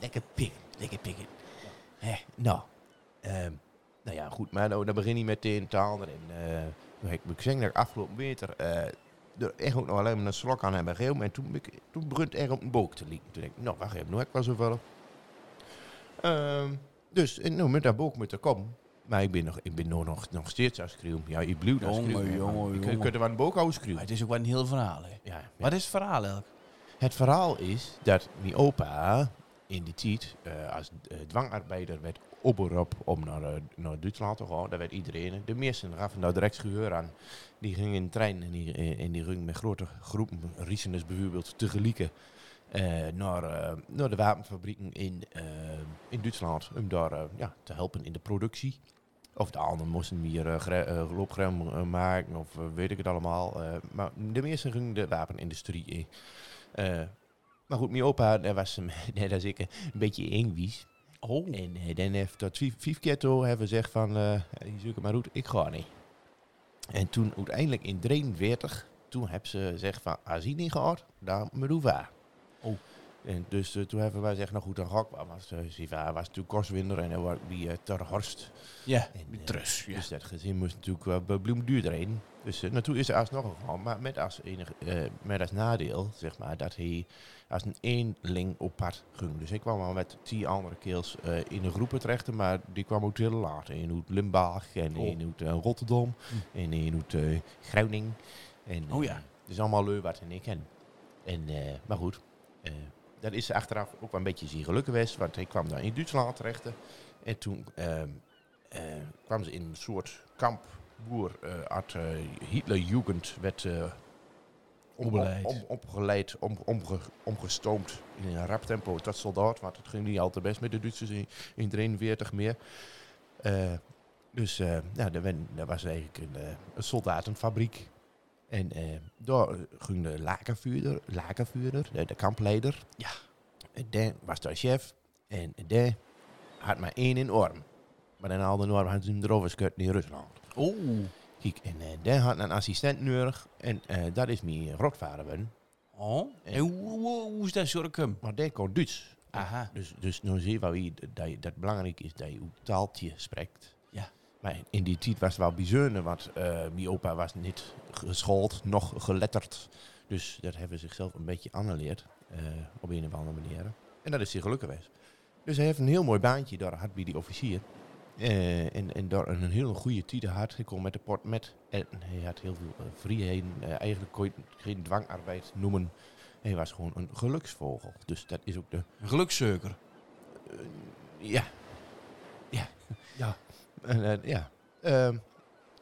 lekker pikken, lekker pikken. Hè, nou, ehm, Nou ja, goed, maar nou, dan begin je met de taal. En eh, ik moet zeggen dat ik afgelopen winter eh, er echt ook nog alleen maar een slok aan hebben gegeven. En toen, ben ik- toen begon het echt op een boek te liggen. Toen denk ik, nou wacht even, nou heb ik wel zoveel. Ehm, dus eh, nou, met dat boek moet er komen. Maar ik ben nog, ik ben nog, nog, nog steeds als schreeuw. Ja, je bloedt als Jongen, schreeuw, hè, jongen, maar Je jongen. kunt er wel een boek over Maar schreeuwen. het is ook wel een heel verhaal, hè. Ja, ja. Wat is het verhaal eigenlijk? Het verhaal is dat mijn opa in die tijd eh, als eh, dwangarbeider werd opgeroepen om naar, eh, naar Duitsland te gaan. Daar werd iedereen. De meesten gaven daar direct geheur aan. Die gingen in de trein en die, eh, en die gingen met grote groepen, Riesenus bijvoorbeeld, tegelijkertijd eh, naar, eh, naar de wapenfabrieken in, eh, in Duitsland. Om daar eh, ja, te helpen in de productie. Of de anderen moesten meer eh gre- eh, loopgrem, eh, maken of eh, weet ik het allemaal. eh, maar de meesten gingen de wapenindustrie in. Eh, maar goed, mijn opa, daar was hem, daar was ik eh, een beetje engwies. Oh. En eh, dan heeft dat vief, viefketto hebben gezegd van, eh je zoekt het maar goed, ik ga niet. En toen uiteindelijk in 43, toen hebben ze gezegd van, als hij niet gaat, dan moet u waar. Oh. En dus eh, toen hebben wij gezegd, nou goed, dan ga ik wel. Want eh, zijn vader was toen kostwinner en hij was bij eh, Ter Horst. Ja, En, eh, trus. Ja. Dus dat gezin moest natuurlijk wel bij bloemduur erin. Dus eh, naartoe is er alsnog gegaan. Maar met als, enig, eh, met als nadeel, zeg maar, dat hij als een eenling op pad ging. Dus ik kwam al met tien andere keels eh, in een groepen terecht. Maar die kwam ook heel laat. In uit Limburg en Oh. Hm. in uit eh, Rotterdam en in uit eh, Groningen. En, Oh eh, ja. dus allemaal leu wat en ik ken. En, eh, maar goed, eh, dat is achteraf ook wel een beetje zijn geluk geweest. Want ik kwam daar in Duitsland terecht. En toen ehm, eh, kwamen ze in een soort kamp. Boer eh uit eh, Hitlerjugend werd eh, om- om- Opgeleid. om- opgeleid, om, omge, omgestoomd in een rap tempo tot soldaat. Want het ging niet al te best met de Duitsers in, in 43 meer. Eh, dus eh nou, daar, wen- daar was eigenlijk een, eh, een soldatenfabriek. En eh, daar ging de lakenvuurder, lakenvuurder de, de kampleider. Ja. En daar was de chef. En daar had maar één in orm. Maar dan haalde Norm had hem erover geschud in Rusland. Oh. Kijk, en eh, daar had een assistent nodig. En eh, dat is mijn grootvader. ben. Oh. En hoe, hoe, hoe is dat zorgen? Maar die kon Duits. Aha. Dus, dus nu zie je wel wie, dat, je- dat belangrijk is dat je uw taaltje spreekt. Ja. Maar in die tijd was het wel bijzonder, want eh, mijn opa was niet geschoold, nog geletterd. Dus dat hebben ze zichzelf een beetje aangeleerd, eh, op een of andere manier. En dat is hij gelukkig geweest. Dus hij heeft een heel mooi baantje, daar had hij die officier. Eh, en, en daar een hele goede tijd had. Hij kon met de port met. En hij had heel veel eh, vrijheden. Eh, eigenlijk kon je het geen dwangarbeid noemen. Hij was gewoon een geluksvogel. Dus dat is ook de Een gelukzuiker. ja. Ja. Ja. En, eh, ja. Ehm,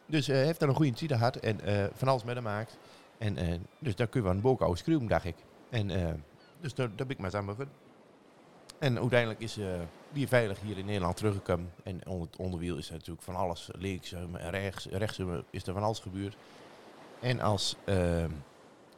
dus hij heeft daar een goede tijd gehad en eh, van alles mee gemaakt. En, eh, dus daar kun je wel een boek over schreeuwen, dacht ik. En, eh, dus daar, daar ben ik maar aan begonnen. En uiteindelijk is eh die veilig hier in Nederland teruggekomen. En onder het onderwiel is er natuurlijk van alles. Links en rechts, rechts eh, is er van alles gebeurd. En als ehm,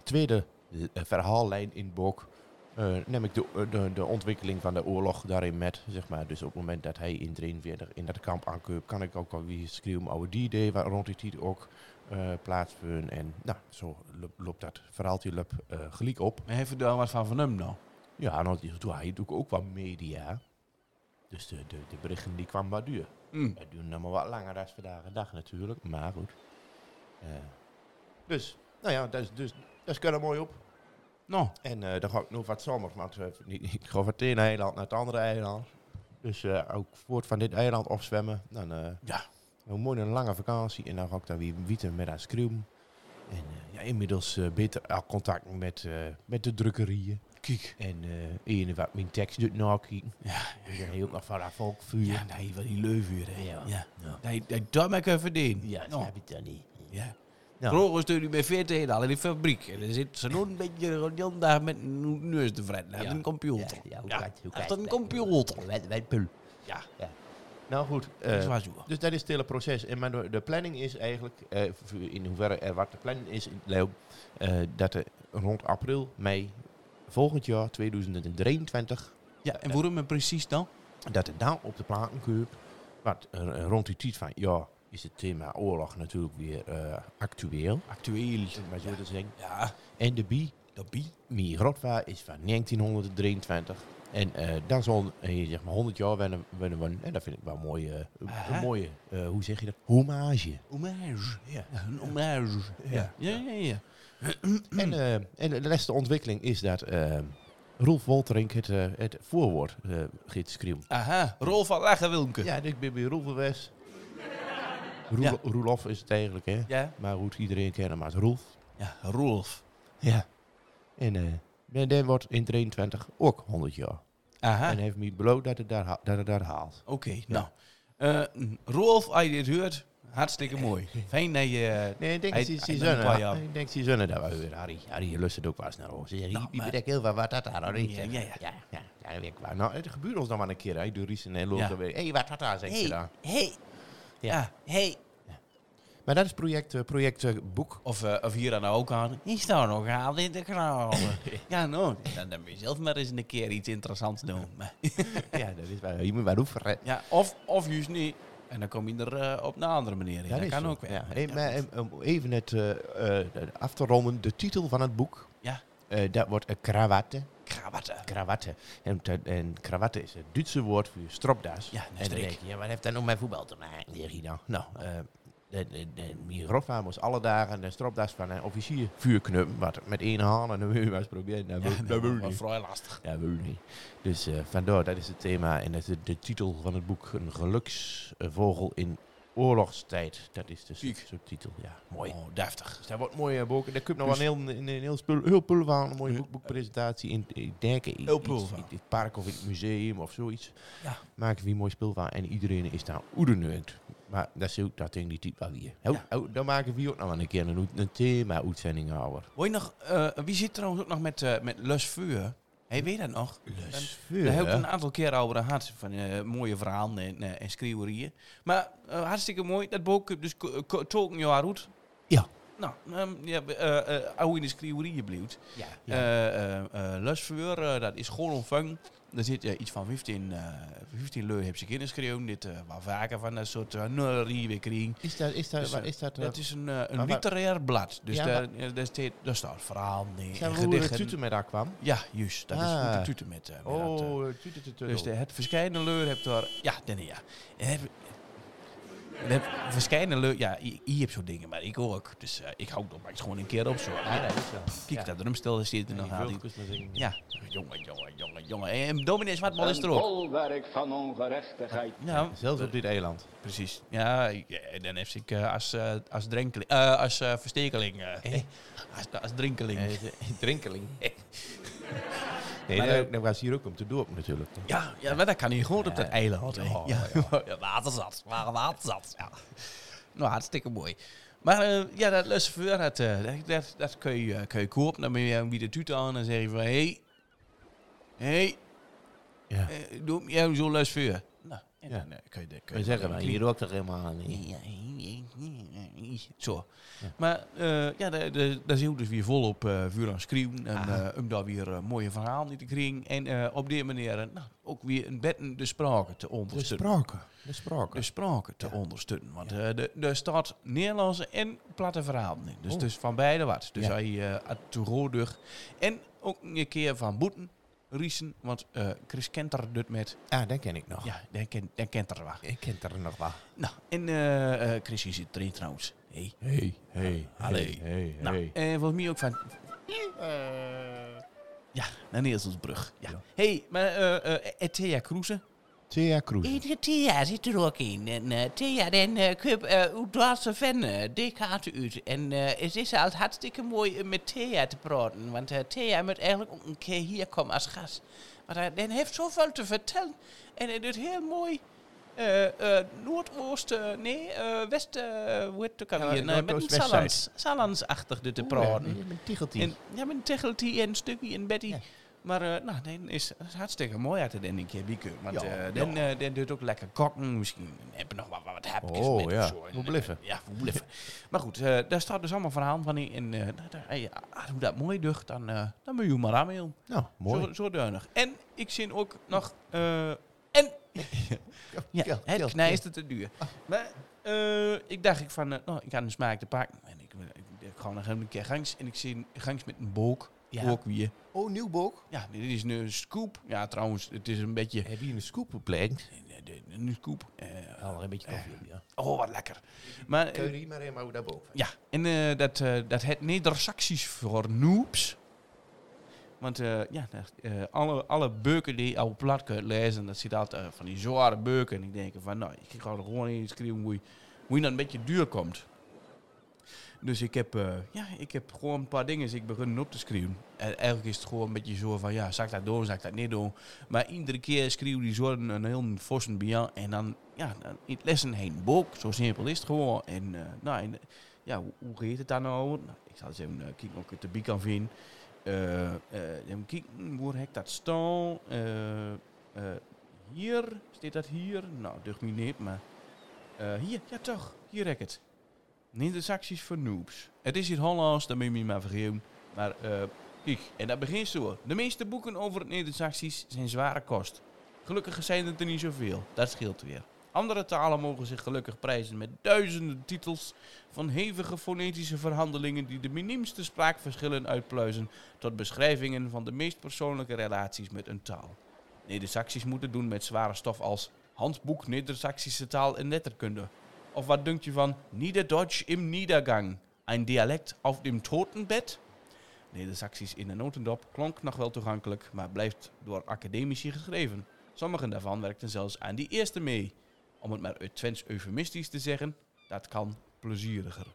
tweede eh, verhaallijn in het boek eh, neem ik de, de, de ontwikkeling van de oorlog daarin met, zeg maar. Dus op het moment dat hij in 43 in dat kamp aankoopt, kan ik ook al weer schreeuwen over die idee waar rond die tijd ook eh plaatsvinden. En nou, zo lo- loopt dat verhaaltje lop, eh, gelijk op. Maar even daar wat van van hem nou. Ja, en dan doet hij doet ook wat media. Dus de, de, de berichten die kwamen wat duur. Hm. Het duurde nog maar wat langer dan vandaag de dag natuurlijk, maar goed. Eh, dus, nou ja, dat is, dus, dat is er mooi op. Nou, En eh dan ga ik nog wat zomer, want eh, ik ik ga van het ene eiland naar het andere eiland. Dus eh, ook voort van dit eiland opzwemmen. Dan eh Ja. een mooie een lange vakantie. En dan ga ik daar weer wieten met haar schreeuw. En eh, ja, inmiddels eh, beter al contact met, eh, met de drukkerieën. kijk. En eh ene wat mijn tekst doet nakijken. Ja, Dus dan heb je ook nog van haar volkvuur. ja nee, wat die leuvuur, hè. Ja. Ja. Ja. Nee, nee, dat maak ik even verdienen. Ja, Nou, snap ik dan niet. Ja. Ja. Vroeger stond hij bij 40 al in die fabriek. En dan zit ze nog een beetje de hele dag met een neus te vreten. Achter een computer. Ja, hoe Ja, gaat- hoe gaat Achter een dat? computer. Wij- wij pul. Ja. Nou goed. eh, Dat is waar zo. Dus dat is het hele proces. En maar de, de planning is eigenlijk, eh, v- in hoeverre er wat de planning is, in Leo, eh, dat er rond april, mei volgend jaar, 2023, Ja, en waarom en precies dan? dat er dan op de platenkeurp, wat eh, rond die tijd van, ja, is het thema oorlog natuurlijk weer eh, actueel. Actueel. om het Maar zo te zeggen. Ja. En de bi, Dat bie. Mijn grootvader is van 1923. En eh dan zo'n eh, zeg maar 100 jaar wennen, wennen we. En dat vind ik wel een mooie, eh, een- een Aha. mooie eh, hoe zeg je dat? Hommage. Hommage. Ja. Een hommage. Ja, ja, ja. ja. En, eh, en de laatste ontwikkeling is dat eh Roelf Wolterink het, eh, het voorwoord eh gaat schreeuwen. Aha, Rolf van Lagerwilke. Ja, ik ben bij Roelf geweest. Roel, Ja. Roelof is het eigenlijk, hè? Ja, Maar goed, iedereen kent hem als Roelf. ja Rolf. Ja. En eh, dan- dan wordt in 23 ook 100 jaar. Aha. En heeft mij beloofd dat het daar, ha- dat het daar haalt. eh, Oké, nou. Eh, Rolf, als je dit hoort, hartstikke mooi. Fijn dat je... eh, Nee, ik denk dat Hij- ze- hij ze bent een paar zonnen. jaar. Ik denk ze zonnen daar wel weer. Harry, Harry lust het ook wel eens naar ons. Ze zeggen, Nou, "Hier, hier maar- ben ik heel veel wat dat daar, Harry. Ja, ja, ja. Ja, ja, ja, dat weet ik wel. Nou, het gebeurt ons nog maar een keer. Hij doet Ries en hij loopt Ja. dan weer. Hé, hey, wat dat daar, zegt ze daar. hey. Ja. Ja, hey. Maar dat is project, eh, project eh, Boek. Of, eh, of hier aan ook aan. Is daar nog aan in de kraal? ja, nou, dan, dan moet je zelf maar eens een keer iets interessants doen. Maar- ja, dat is waar. Je moet maar oefenen. ja, of, of juist niet. En dan kom je er eh, op een andere manier in. Dat, is kan zo. ook wel. Ja. Hey, maar, eh, om even het eh, eh, af te ronden. De titel van het boek, Ja. eh, dat wordt eh, Krawatte. Krabatten. Krawatte. En, te- en krawatte is het Duitse woord voor stropdas. Ja, een en dan strik. denk je, ja, wat heeft dat nou met voetbal te maken? Zeg je nou. Nou, eh, de, de, de, mijn grootvader moest alle dagen de stropdas van een officier vuurknuppen. Wat met één hand en een muur was proberen. Dat wil- dat wil Maar niet. vrij lastig. Ja, wil niet. Dus eh, vandaar, dat is het thema. En dat is de titel van het boek, Een geluksvogel in oorlogstijd. Dat is de sub- Ziek. subtitel, ja. Mooi. Oh, deftig. Dus dat wordt mooi, boek. Daar kun je nog Dus- wel een heel, een, een heel, spul, heel pul van. Een mooie boek, boekpresentatie in, ik denk in, Heel pul iets- van. in het park of in het museum of zoiets. Ja. Maken we een mooi spul van. En iedereen is daar oederneukt. Maar dat is ook dat ding die type wel weer. Hou- Ja. hou, dan maken we ook nog wel een keer een, een thema-uitzending over. Hoor je nog, eh, wie zit trouwens ook nog met, eh met Lus Vuur? Hey, weet je dat nog? Lus Daar heb ik een aantal keer over gehad. Van eh, mooie verhalen en, eh, en schreeuwerieën. Maar eh, hartstikke mooi. Dat boek, dus ko- ko- tolken jaar uit. Ja. Nou, ehm ja, we, eh, eh, hoe in de schreeuwerieën blijft. Ja. Eh eh, eh, Lustverhoor, eh, dat is gewoon ontvangen. Er zit eh, iets van 15, eh 15 leur heb ze kinderen geschreven. Dit eh wat vaker van dat soort uh, nullerie weer krijgen. Is dat, is dat, Dus, waar eh, is dat, eh, Dat is een, eh, een maar- literair blad. Dus Ja, daar, eh, daar, staat, daar staat verhaal in. Zijn en we hoe de gedichten. tuten met daar kwam? Ja, juist. Dat is Ah. hoe de tuten met, eh, met dat, eh, Oh, tutetutu. dus de, het verschijnen leur hebt daar... Ja, nee, ja. En heb, en heb verschijnen leur... Ja, i- i heb zo'n dingen, maar ik ook. Dus eh, ik hou dat maar eens gewoon een keer op zo. Ah, Ja, dat is wel. Kijk, dat drumstel zit er nog aan. die- Ja, jongen, jongen, jongen, jongen. En dominee Zwartman is er ook. bolwerk van ongerechtigheid. Ja, Zelfs op dit eiland. precies. Ja, ja, en dan heb ik eh, als, eh, als, drenkeling, eh, als eh, verstekeling... eh, als, als drinkeling. Drinkeling. Nee, Maar, daar- eh, daar was hier ook om te dorp natuurlijk. Ja, ja, maar dat kan niet gewoon op dat eiland. hè. Ja, ja. Ja, waterzat. Waar waterzat. Ja. Nou, hartstikke mooi. Maar eh, ja, dat lucifer, dat, eh, dat, dat, dat kun, je, eh, kun je kopen. Dan ben je aan wie de tuut aan en zeg je van... Hé, hey, hé, Ja. eh, doe me jou zo'n lucifer. Nou, en Ja. dan eh, kun je... de- kun We je zeggen nou, de- maar, hier ook toch helemaal niet. ja, Zo. Maar eh, ja, daar- daar daar zijn we dus weer volop eh vuur aan schreeuwen. En eh om daar weer eh, mooie verhalen in te krijgen. En eh, op die manier eh, nou, ook weer een betten de sprake te ondersteunen. spraken. De spraken. De sprake te ondersteunen. Want eh de, de staat Nederlandse en platte verhalen in. Dus, Oh. dus van beide wat. Dus Ja. hij uh, En ook een keer van boeten. Riesen, want eh, Chris Kenter doet met. Ah, dat ken ik nog. Ja, daar kent, daar kent er wat. Ik ken er nog wel. Nou, en eh eh Chris is erin trouwens. Hey. Hey, hey, Allee. hey, Nou, en volgens mij ook van... Eh, Ja, naar Nederlandsbrug. Ja. hey, maar eh eh eh, Thea Kroeze? Thea Kroes. Thea eh, zit er ook in. En eh, Thea, dan eh, kun je uw Duitse vrienden, eh, die gaat uit. En eh, het is altijd hartstikke mooi eh, met Thea te praten. Want eh, Thea moet eigenlijk ook een keer hier komen als gast. eh, Maar hij hij heeft zoveel te vertellen. En hij doet heel mooi... eh eh Noordoost, eh, nee, eh West, eh, hoe heet het ook Ja, alweer? Nee, met een Noordoost-Westzijde. Salans, Salans-achtig dit te praten. Een ticheltje. En, ja, met een tegeltje en een stukje en Betty. Ja. Maar eh, nou, dan is het hartstikke mooi uit de een keer wieken. Want Ja, eh, ja. dan, eh, dan doet het ook lekker kokken. Misschien hebben we nog wat, wat hapjes Oh, met of ja. zo. En, Moet eh, bluffen. Ja, moet bluffen. maar goed, eh, daar staat dus allemaal verhaal van in. En eh, nou, daar- eh, ah, hoe dat mooi ducht, dan, eh dan ben je maar aan mee om. Nou, mooi. Zo, zo duinig. En ik zie ook nog... eh, en... ja, Kel, het kel, knijste te duur. Maar eh, ik dacht ik van... eh, nou, ik ga een smaak te pakken. En ik, ik, ik ga nog een keer gangs. En ik zie een gangs met een boek. Ja. Ook weer. Oh, Nieuwbok. Ja, dit is een scoop. Ja, trouwens, het is een beetje... Heb je een scoop beplekt? Een scoop. Eh, Al een beetje koffie, ja. oh, wat lekker. Maar, eh, Curry, maar helemaal daarboven. Ja, en eh, dat, eh, dat het Neder-Saxisch voor noobs. Want eh, ja, dat, eh, alle, alle beuken die al plat kunt lezen, dat zit altijd eh, van die zware beuken. En ik denk van, nou, ik ga er gewoon in schrijven hoe je, hoe je dan een beetje duur komt. Dus ik heb, eh, ja, ik heb gewoon een paar dingen ik begonnen op te schrijven. En eigenlijk is het gewoon een beetje zo van, ja, zak dat doen, zak dat niet doen. Maar iedere keer schreeuw die zo een, een heel fossen bier. En dan, ja, dan in het lessen heen boek. Zo simpel is het gewoon. En, eh, nou, en ja, hoe, hoe heet het daar nou? Nou, ik zal eens even eh, kijken of ik het erbij kan vinden. Eh, eh, even kijken, waar heb ik dat staan? Eh, eh, hier, staat dat hier? Nou, ducht me niet, maar... eh, hier, ja toch, hier heb ik het. Neder-Saxisch voor noobs. Het is hier Hollands, daar moet je me maar vergeven. Maar eh, kijk, en dat begint zo. De meeste boeken over het Neder-Saxisch zijn zware kost. Gelukkig zijn het er niet zoveel, dat scheelt weer. Andere talen mogen zich gelukkig prijzen met duizenden titels van hevige fonetische verhandelingen die de minimste spraakverschillen uitpluizen tot beschrijvingen van de meest persoonlijke relaties met een taal. Neder-Saxisch moeten doen met zware stof als handboek Neder-Saxische taal en letterkunde. Of wat dunkt je van Niederdeutsch im Niedergang, een dialect auf dem Totenbed? Neder-Saxisch in de notendop klonk nog wel toegankelijk, maar blijft door academici geschreven. Sommigen daarvan werkten zelfs aan die eerste mee. Om het maar uit Twents eufemistisch te zeggen, dat kan plezieriger.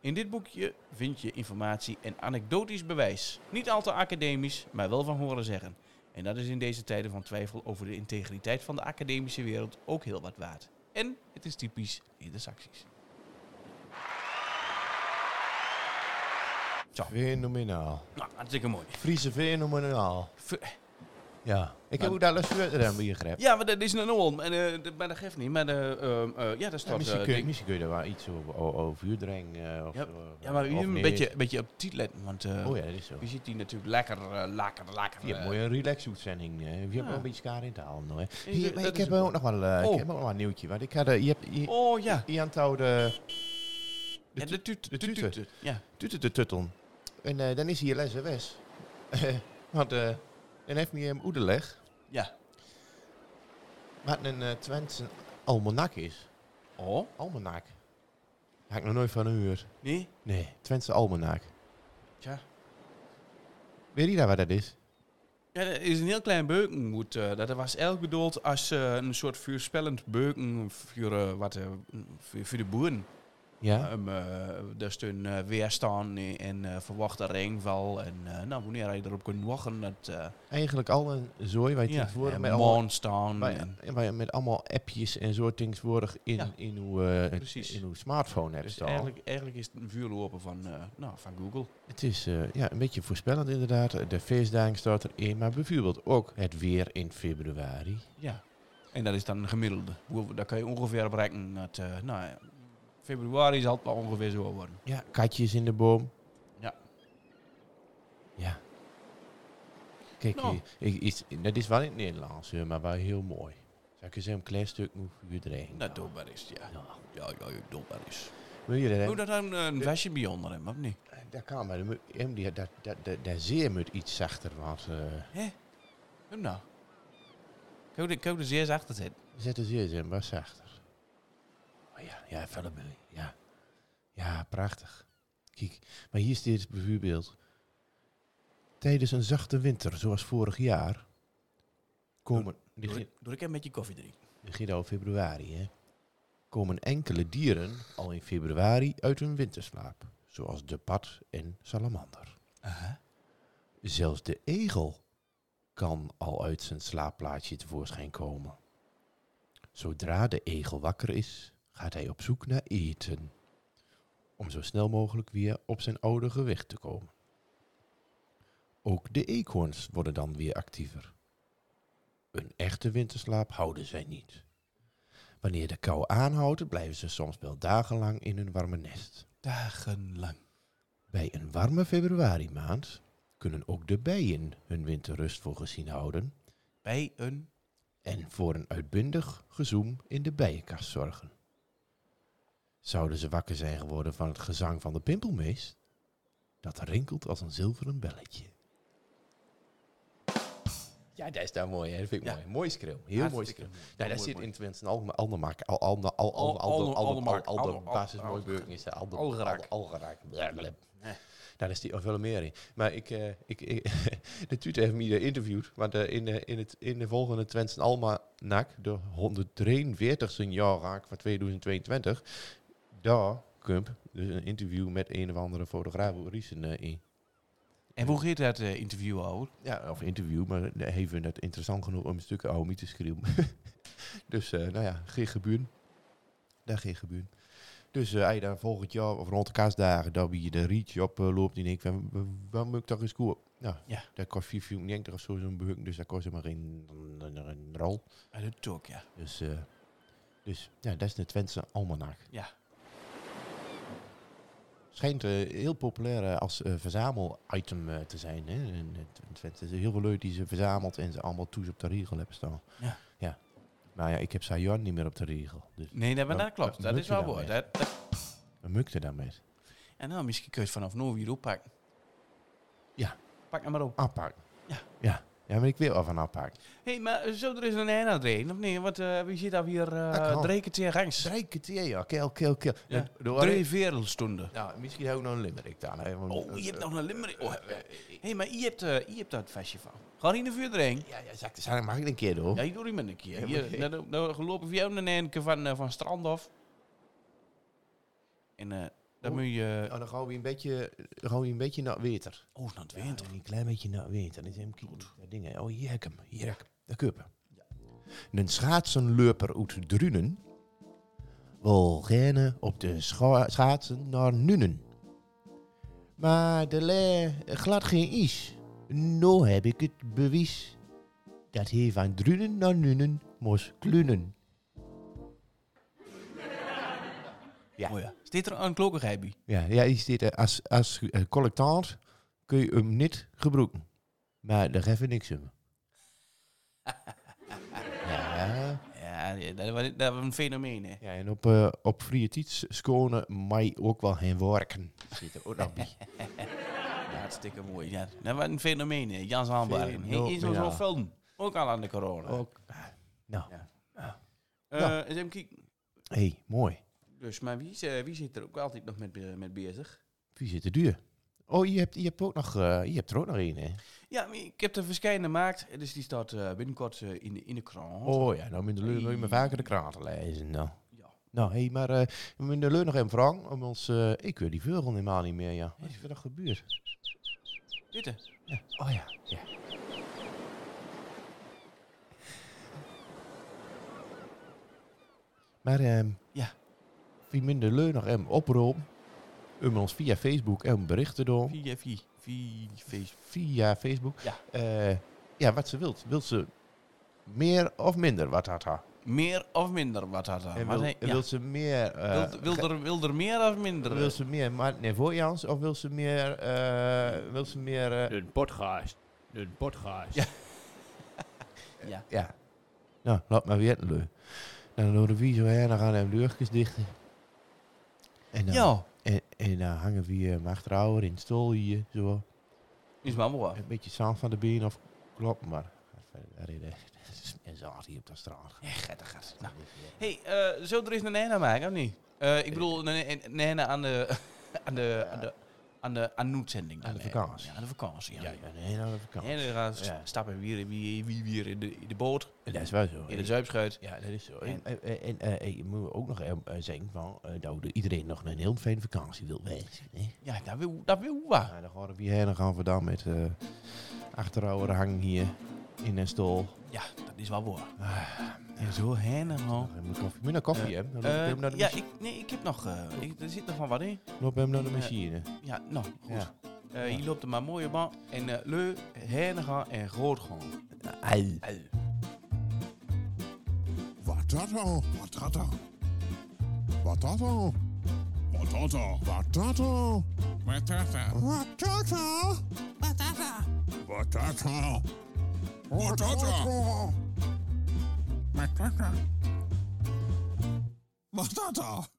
In dit boekje vind je informatie en anekdotisch bewijs. Niet al te academisch, maar wel van horen zeggen. En dat is in deze tijden van twijfel over de integriteit van de academische wereld ook heel wat waard. En het is typisch in de Saxies. Fenomenaal. Nou, hartstikke mooi. Friese fenomenaal. Ver- Ja. Ik Maar- heb ook daar lust verder aan bij je greep. Ja, maar dat is een non, en, eh, dat- maar dat geeft niet. Maar de, ehm, eh, ja, dat Ja, staat... misschien, eh, kun je, ding. misschien kun je daar wel iets over, o- over huurdreng eh, of Ja, zo, ja, maar of je moet een nee. beetje, een beetje op tijd letten, want eh, Oh ja, dat is zo. je ziet die natuurlijk lekker, eh, lekker, lekker... Je hebt eh, mooi een relax-uitzending. eh. Je hebt Ja. wel een beetje kaar in te halen. Hoor. dat- Hier, maar dat ik, is heb een ook nog wel, eh, Oh. ik heb ook nog wel een nieuwtje. Want ik had, eh, je hebt je, Oh ja, je aanhoudt de Ja, de tut- de tut- tute. tut- Ja. tutte te tuttel. En eh, dan is hier les en wes. Want eh dan heeft me hem oederleg. Ja. Wat een eh Twentse almanak is. Oh, Almanak. Had ik nog nooit van gehoord. nee. Nee, Twentse almanak. Tja. Weet je daar wat dat is? Ja, dat is een heel klein beukengoed. eh, dat was elk bedoeld als eh, een soort vuurspellend beuken voor, eh, wat, eh, voor, voor de boeren. Ja? Ehm, eh, daar stond eh, weerstand en- en eh verwachte regenval. En eh, nou, wanneer hij erop kon wachten, dat... eh Eigenlijk al een zooi waar je ja, eh, tegenwoordig en met allemaal maanstand Waar, en- en waar je met allemaal appjes en zo tegenwoordig in, Ja. in, uw, eh, Precies. in uw smartphone hebt Dus staan. eigenlijk, eigenlijk is het een vuurlopen van, eh, nou, van Google. Het is eh, ja, een beetje voorspellend inderdaad. De feestdagen staat erin, maar bijvoorbeeld ook het weer in februari. Ja. En dat is dan een gemiddelde. Hoe- Daar kan je ongeveer bereiken dat, eh, nou, ja, februari zal het wel ongeveer zo worden. Ja, katjes in de boom. Ja. Ja. Kijk, Nou. hier, ik- iets, dat is wel in het Nederlands, eh, maar wel heel mooi. Zou ik eens een klein stuk moeten verdrijven? Dat Nou, doelbaar is, ja. Ja, ja, ja doelbaar is. Wil je dat? hebben? Moet dat dan een vestje bij onder hem, of niet? Dat kan, maar dan moet- hem die- dat- dat- dat- dat zeer moet iets zachter, want... eh, Hem nou. Kan ik ook er zeer achter zitten? Zet de zeer in, wat zachter. Oh ja, ja, verder ben ik. Ja. ja, prachtig. Kijk, maar hier staat bijvoorbeeld... Tijdens een zachte winter, zoals vorig jaar... Komen, Doe begin, ik- doe ik even met je koffie drinken. begin al februari, hè... Komen enkele dieren al in februari uit hun winterslaap. Zoals de pad en salamander. Zelfs de egel kan al uit zijn slaapplaatsje tevoorschijn komen. Zodra de egel wakker is, gaat hij op zoek naar eten. Om zo snel mogelijk weer op zijn oude gewicht te komen. Ook de eekhoorns worden dan weer actiever. Een echte winterslaap houden zij niet. Wanneer de kou aanhoudt, blijven ze soms wel dagenlang in hun warme nest. Dagenlang. Bij een warme februari-maand kunnen ook de bijen hun winterrust voor gezien houden Bij een... en voor een uitbundig gezoem in de bijenkast zorgen. Zouden ze wakker zijn geworden van het gezang van de pimpelmees? Dat rinkelt als een zilveren belletje. Ja, dat is daar mooi. Hè? Dat vind ik Ja. mooi. Mooi schreeuw. Heel mooi Hartstikke schreeuw. mooi. Nou, Mooi, dat zit mooi. in tenminste al al de maak. Al al de al al al Al- de al de al Aldermark, de al de Alder- basis Al- mooi Alder- burger is de al de al Algerak. de al geraakt. Blablabla. Nou, dat is die of wel meer in. Maar ik, eh, ik, ik de Tute heeft me geïnterviewd. Want eh, in, de, in, het, in de volgende Twents Alma NAC, de 143ste jaarraak van 2022, daar komt dus een interview met een of andere fotograaf Riesen eh, in. En hoe gaat dat eh, interview over? Ja, of interview, maar hij heeft het interessant genoeg om een stuk Aomi te schreeuwen. dus, eh, nou ja, geen geburen. Daar geen geburen. Dus eh, hij daar volgend jaar, of rond de kaasdagen, daar wie de reach op eh, loopt, die denkt van, "Wa- waar moet ik toch eens koop? Nou, Ja. dat kost 4,90 of zo zo'n beuk, dus dat kost helemaal geen, geen rol. Uit het talk, ja. Dus, eh, dus ja, dat is de Twentse almanak. Ja. Schijnt eh, heel populair eh, als eh, verzamelitem eh, te zijn. Hè? In, eh, Twen- Twente. Er zijn heel veel leuk die ze verzamelt en ze allemaal toes op de regel hebben staan. Ja. ja. Maar ja, ik heb Sayan niet meer op de regel. Dus Nee, dat, maar Wat- dat klopt. wat Dat moet is je wel dan waar. mee? Dat, dat- we mukten daarmee. en nou, misschien kun je het vanaf nu weer oppakken. Ja. Pak hem maar op. Aanpakken. Ja. ja. Ja, maar ik wil wel van aanpakken. Hé, hey, maar eh, zo er is een einde aan het reden, of nee? Want eh, wie zit daar weer Dat eh kan. drie keer tegen gangs? Drie keer, ja. Keel, keel, keel. Ja. Nou, door- Drie wereldstonden. Nou, misschien ook nog een limerick dan. hè, want- Oh, je hebt nog een limmerik. Oh, eh, eh, Hé, maar je hebt, eh, je hebt daar het festival. Ga niet naar vuurdring. Ja, ja, zak de zaak mag ik een keer door. Oh. Ja, je doet iemand een keer. Ja, maar- Hier, nou, nou, nou gelopen we jou naar Nenke van, eh, van strand af. En eh, dan Oh. moet je... eh, Oh, dan gaan we een beetje, dan gaan we een beetje naar winter. Oh, is nou het Ja, winter. Een klein beetje naar winter. Dan zijn we dingen. Oh, hier heb ik hem. Hier heb ik hem. Daar kun je hem. Een schaatsenleuper uit Drunen wil gerne op de scha- schaatsen naar Nuenen. Maar de le glad geen is. Nou heb ik het bewijs dat hij van Drunen naar Nuenen moest klunen. Ja. Oh ja. Steed er een klokkerheid bij? Ja, ja is dit, eh, als, als eh, collectant kun je hem niet gebruiken. Maar daar geven we niks om. ja. Ja, ja, dat was, dat was een fenomeen, hè. ja, en op, eh, op vrije tiets schone mij ook wel heen werken. Zit er ook nog bij. Ja, hartstikke mooi. Ja. Dat was een fenomeen, hè. Jan Zandbergen. Hij is nog Fenomenaal. zo film. Ook al aan de corona. Ook. Nou, Ja. Eh, Ja. eens even kijken. hey, mooi. Dus, maar wie, is, eh, wie zit er ook altijd nog met, eh, met bezig? Wie zit er duur? Oh, je hebt, je hebt, ook nog, eh, je hebt er ook nog één, hè? Ja, maar ik heb er verschillende gemaakt. Dus die staat eh, binnenkort eh, in, de- in de krant. Oh ja, nou moet je hey. maar vaker de kraten lezen. Nou, Ja. nou hé, hey, maar eh we moeten Leur nog even vragen. Om ons, eh, ik wil die vogel helemaal niet meer, ja. Wat is er nog gebeurd? Dit, eh, hè. Ja. Oh ja, ja. Maar ehm Ja. wie minder leuk nog hem oproepen, om ons via Facebook en berichten door. Via, via, via Facebook. Via Facebook. Ja. Eh, ja, wat ze wilt. Wilt ze meer of minder wat had haar? Meer of minder, wat had dat? En Oh, Maar wil, nee, en ja. wil ze meer... eh, Wil- wil er- Wil er meer of minder? Wil ze meer Maarten Nivojans of wil ze meer... eh, wil ze meer... eh, Een podcast. Een podcast. Ja. ja. Nou, laat maar weer leu. Dan doen we zo her, dan gaan we de luchtjes dichten. En dan, Ja, en, en dan hangen we eh, hem achterover in het stoel hier, zo. is maar mooi. Een beetje zand van de been of klopt, maar... Er is meer zand hier op de straat. Echt, dat gaat. Nou. Hé, hey, zo er is een einde aan maken, of niet? Eh, ik bedoel, een- een een einde aan de... Aan de... Aan de aan de aan de uitzending. Aan de dan, eh. vakantie. Ja, aan de vakantie. Ja, Ja, ja, nee, nou, dat kan. En dan gaan we Ja. stappen weer, weer, weer, weer in, de, in de boot, Dat is wel zo. in de zuipschuit. Ja, dat is zo. En- En, en, en eh, eh, je moet ook nog eh, eh, zeggen van, eh, dat iedereen nog een heel fijne vakantie wil wensen. hè. Ja, dat wil, dat wil wat. Ja, dan gaan we hierheen en gaan we dan met eh achterover hangen hier in een stoel. Ja, dat is wel waar. Ah, en zo heen en al. Nog even koffie. Moet je naar koffie, hè? Dan loop ik Eh, hem naar de ja, machine. ik, nee, ik heb nog. eh, ik, er zit nog van wat in. Loop hem naar de eh, machine. Ja, nou, goed. Ja. Eh, hier loopt er maar een mooie baan. En eh leu, heen gaan en rood gaan. Ai. Wat dat al? Wat dat al? Wat dat al? Patata. Wat dat al? Patata. Wat dat al? Patata. Wat dat al? Wat dat al? Patata. Patata.